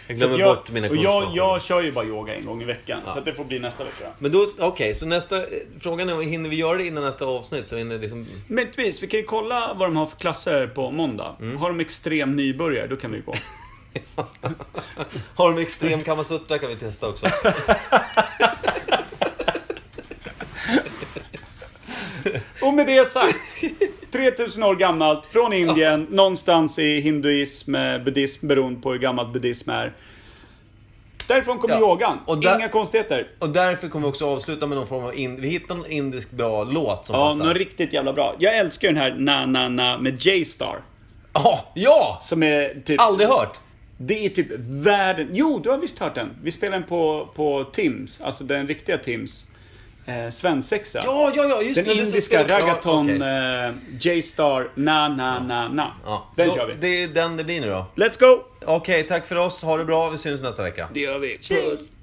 [SPEAKER 1] Jag glömmer
[SPEAKER 2] så att
[SPEAKER 1] bort mina
[SPEAKER 2] och jag,
[SPEAKER 1] kunskaper.
[SPEAKER 2] jag kör ju bara yoga en gång i veckan. Så att det får bli nästa vecka.
[SPEAKER 1] Men då, okej, så nästa... eh, Frågan är, hinner vi göra det innan nästa avsnitt? Så vi hinner liksom...
[SPEAKER 2] Möjligtvis, vi kan ju kolla vad de har för klasser på måndag.
[SPEAKER 1] Mm.
[SPEAKER 2] Har de extrem nybörjare, då kan vi gå.
[SPEAKER 1] Har de extrem kamasutta kan vi testa också.
[SPEAKER 2] Och med det sagt, 3000 år gammalt, från Indien, någonstans i hinduism, eh, buddhism, beroende på hur gammalt buddhism är. Därifrån kommer
[SPEAKER 1] Ja.
[SPEAKER 2] yogan.
[SPEAKER 1] Och där-
[SPEAKER 2] Inga konstigheter.
[SPEAKER 1] Och därför kommer vi också avsluta med någon form av... In... Vi hittar en indisk bra låt som
[SPEAKER 2] Ja,
[SPEAKER 1] passar.
[SPEAKER 2] något riktigt jävla bra. Jag älskar ju den här Na Na Na med J-Star.
[SPEAKER 1] Ja, ja!
[SPEAKER 2] Som är typ...
[SPEAKER 1] Aldrig hört.
[SPEAKER 2] Det är typ världen... Jo, du har visst hört den. Vi spelade den på, på Tims, alltså den riktiga Tims. Eh, svensexa.
[SPEAKER 1] Ja, ja, ja, just
[SPEAKER 2] Den
[SPEAKER 1] det, det.
[SPEAKER 2] indiska
[SPEAKER 1] Ja,
[SPEAKER 2] raggaton,
[SPEAKER 1] okej.
[SPEAKER 2] eh, J-Star, na na na na.
[SPEAKER 1] Ja.
[SPEAKER 2] Den
[SPEAKER 1] Då-
[SPEAKER 2] kör vi.
[SPEAKER 1] Det är den det blir nu då.
[SPEAKER 2] Let's go!
[SPEAKER 1] Okej, tack för oss. Ha det bra. Vi syns nästa vecka.
[SPEAKER 2] Det gör vi. Puss!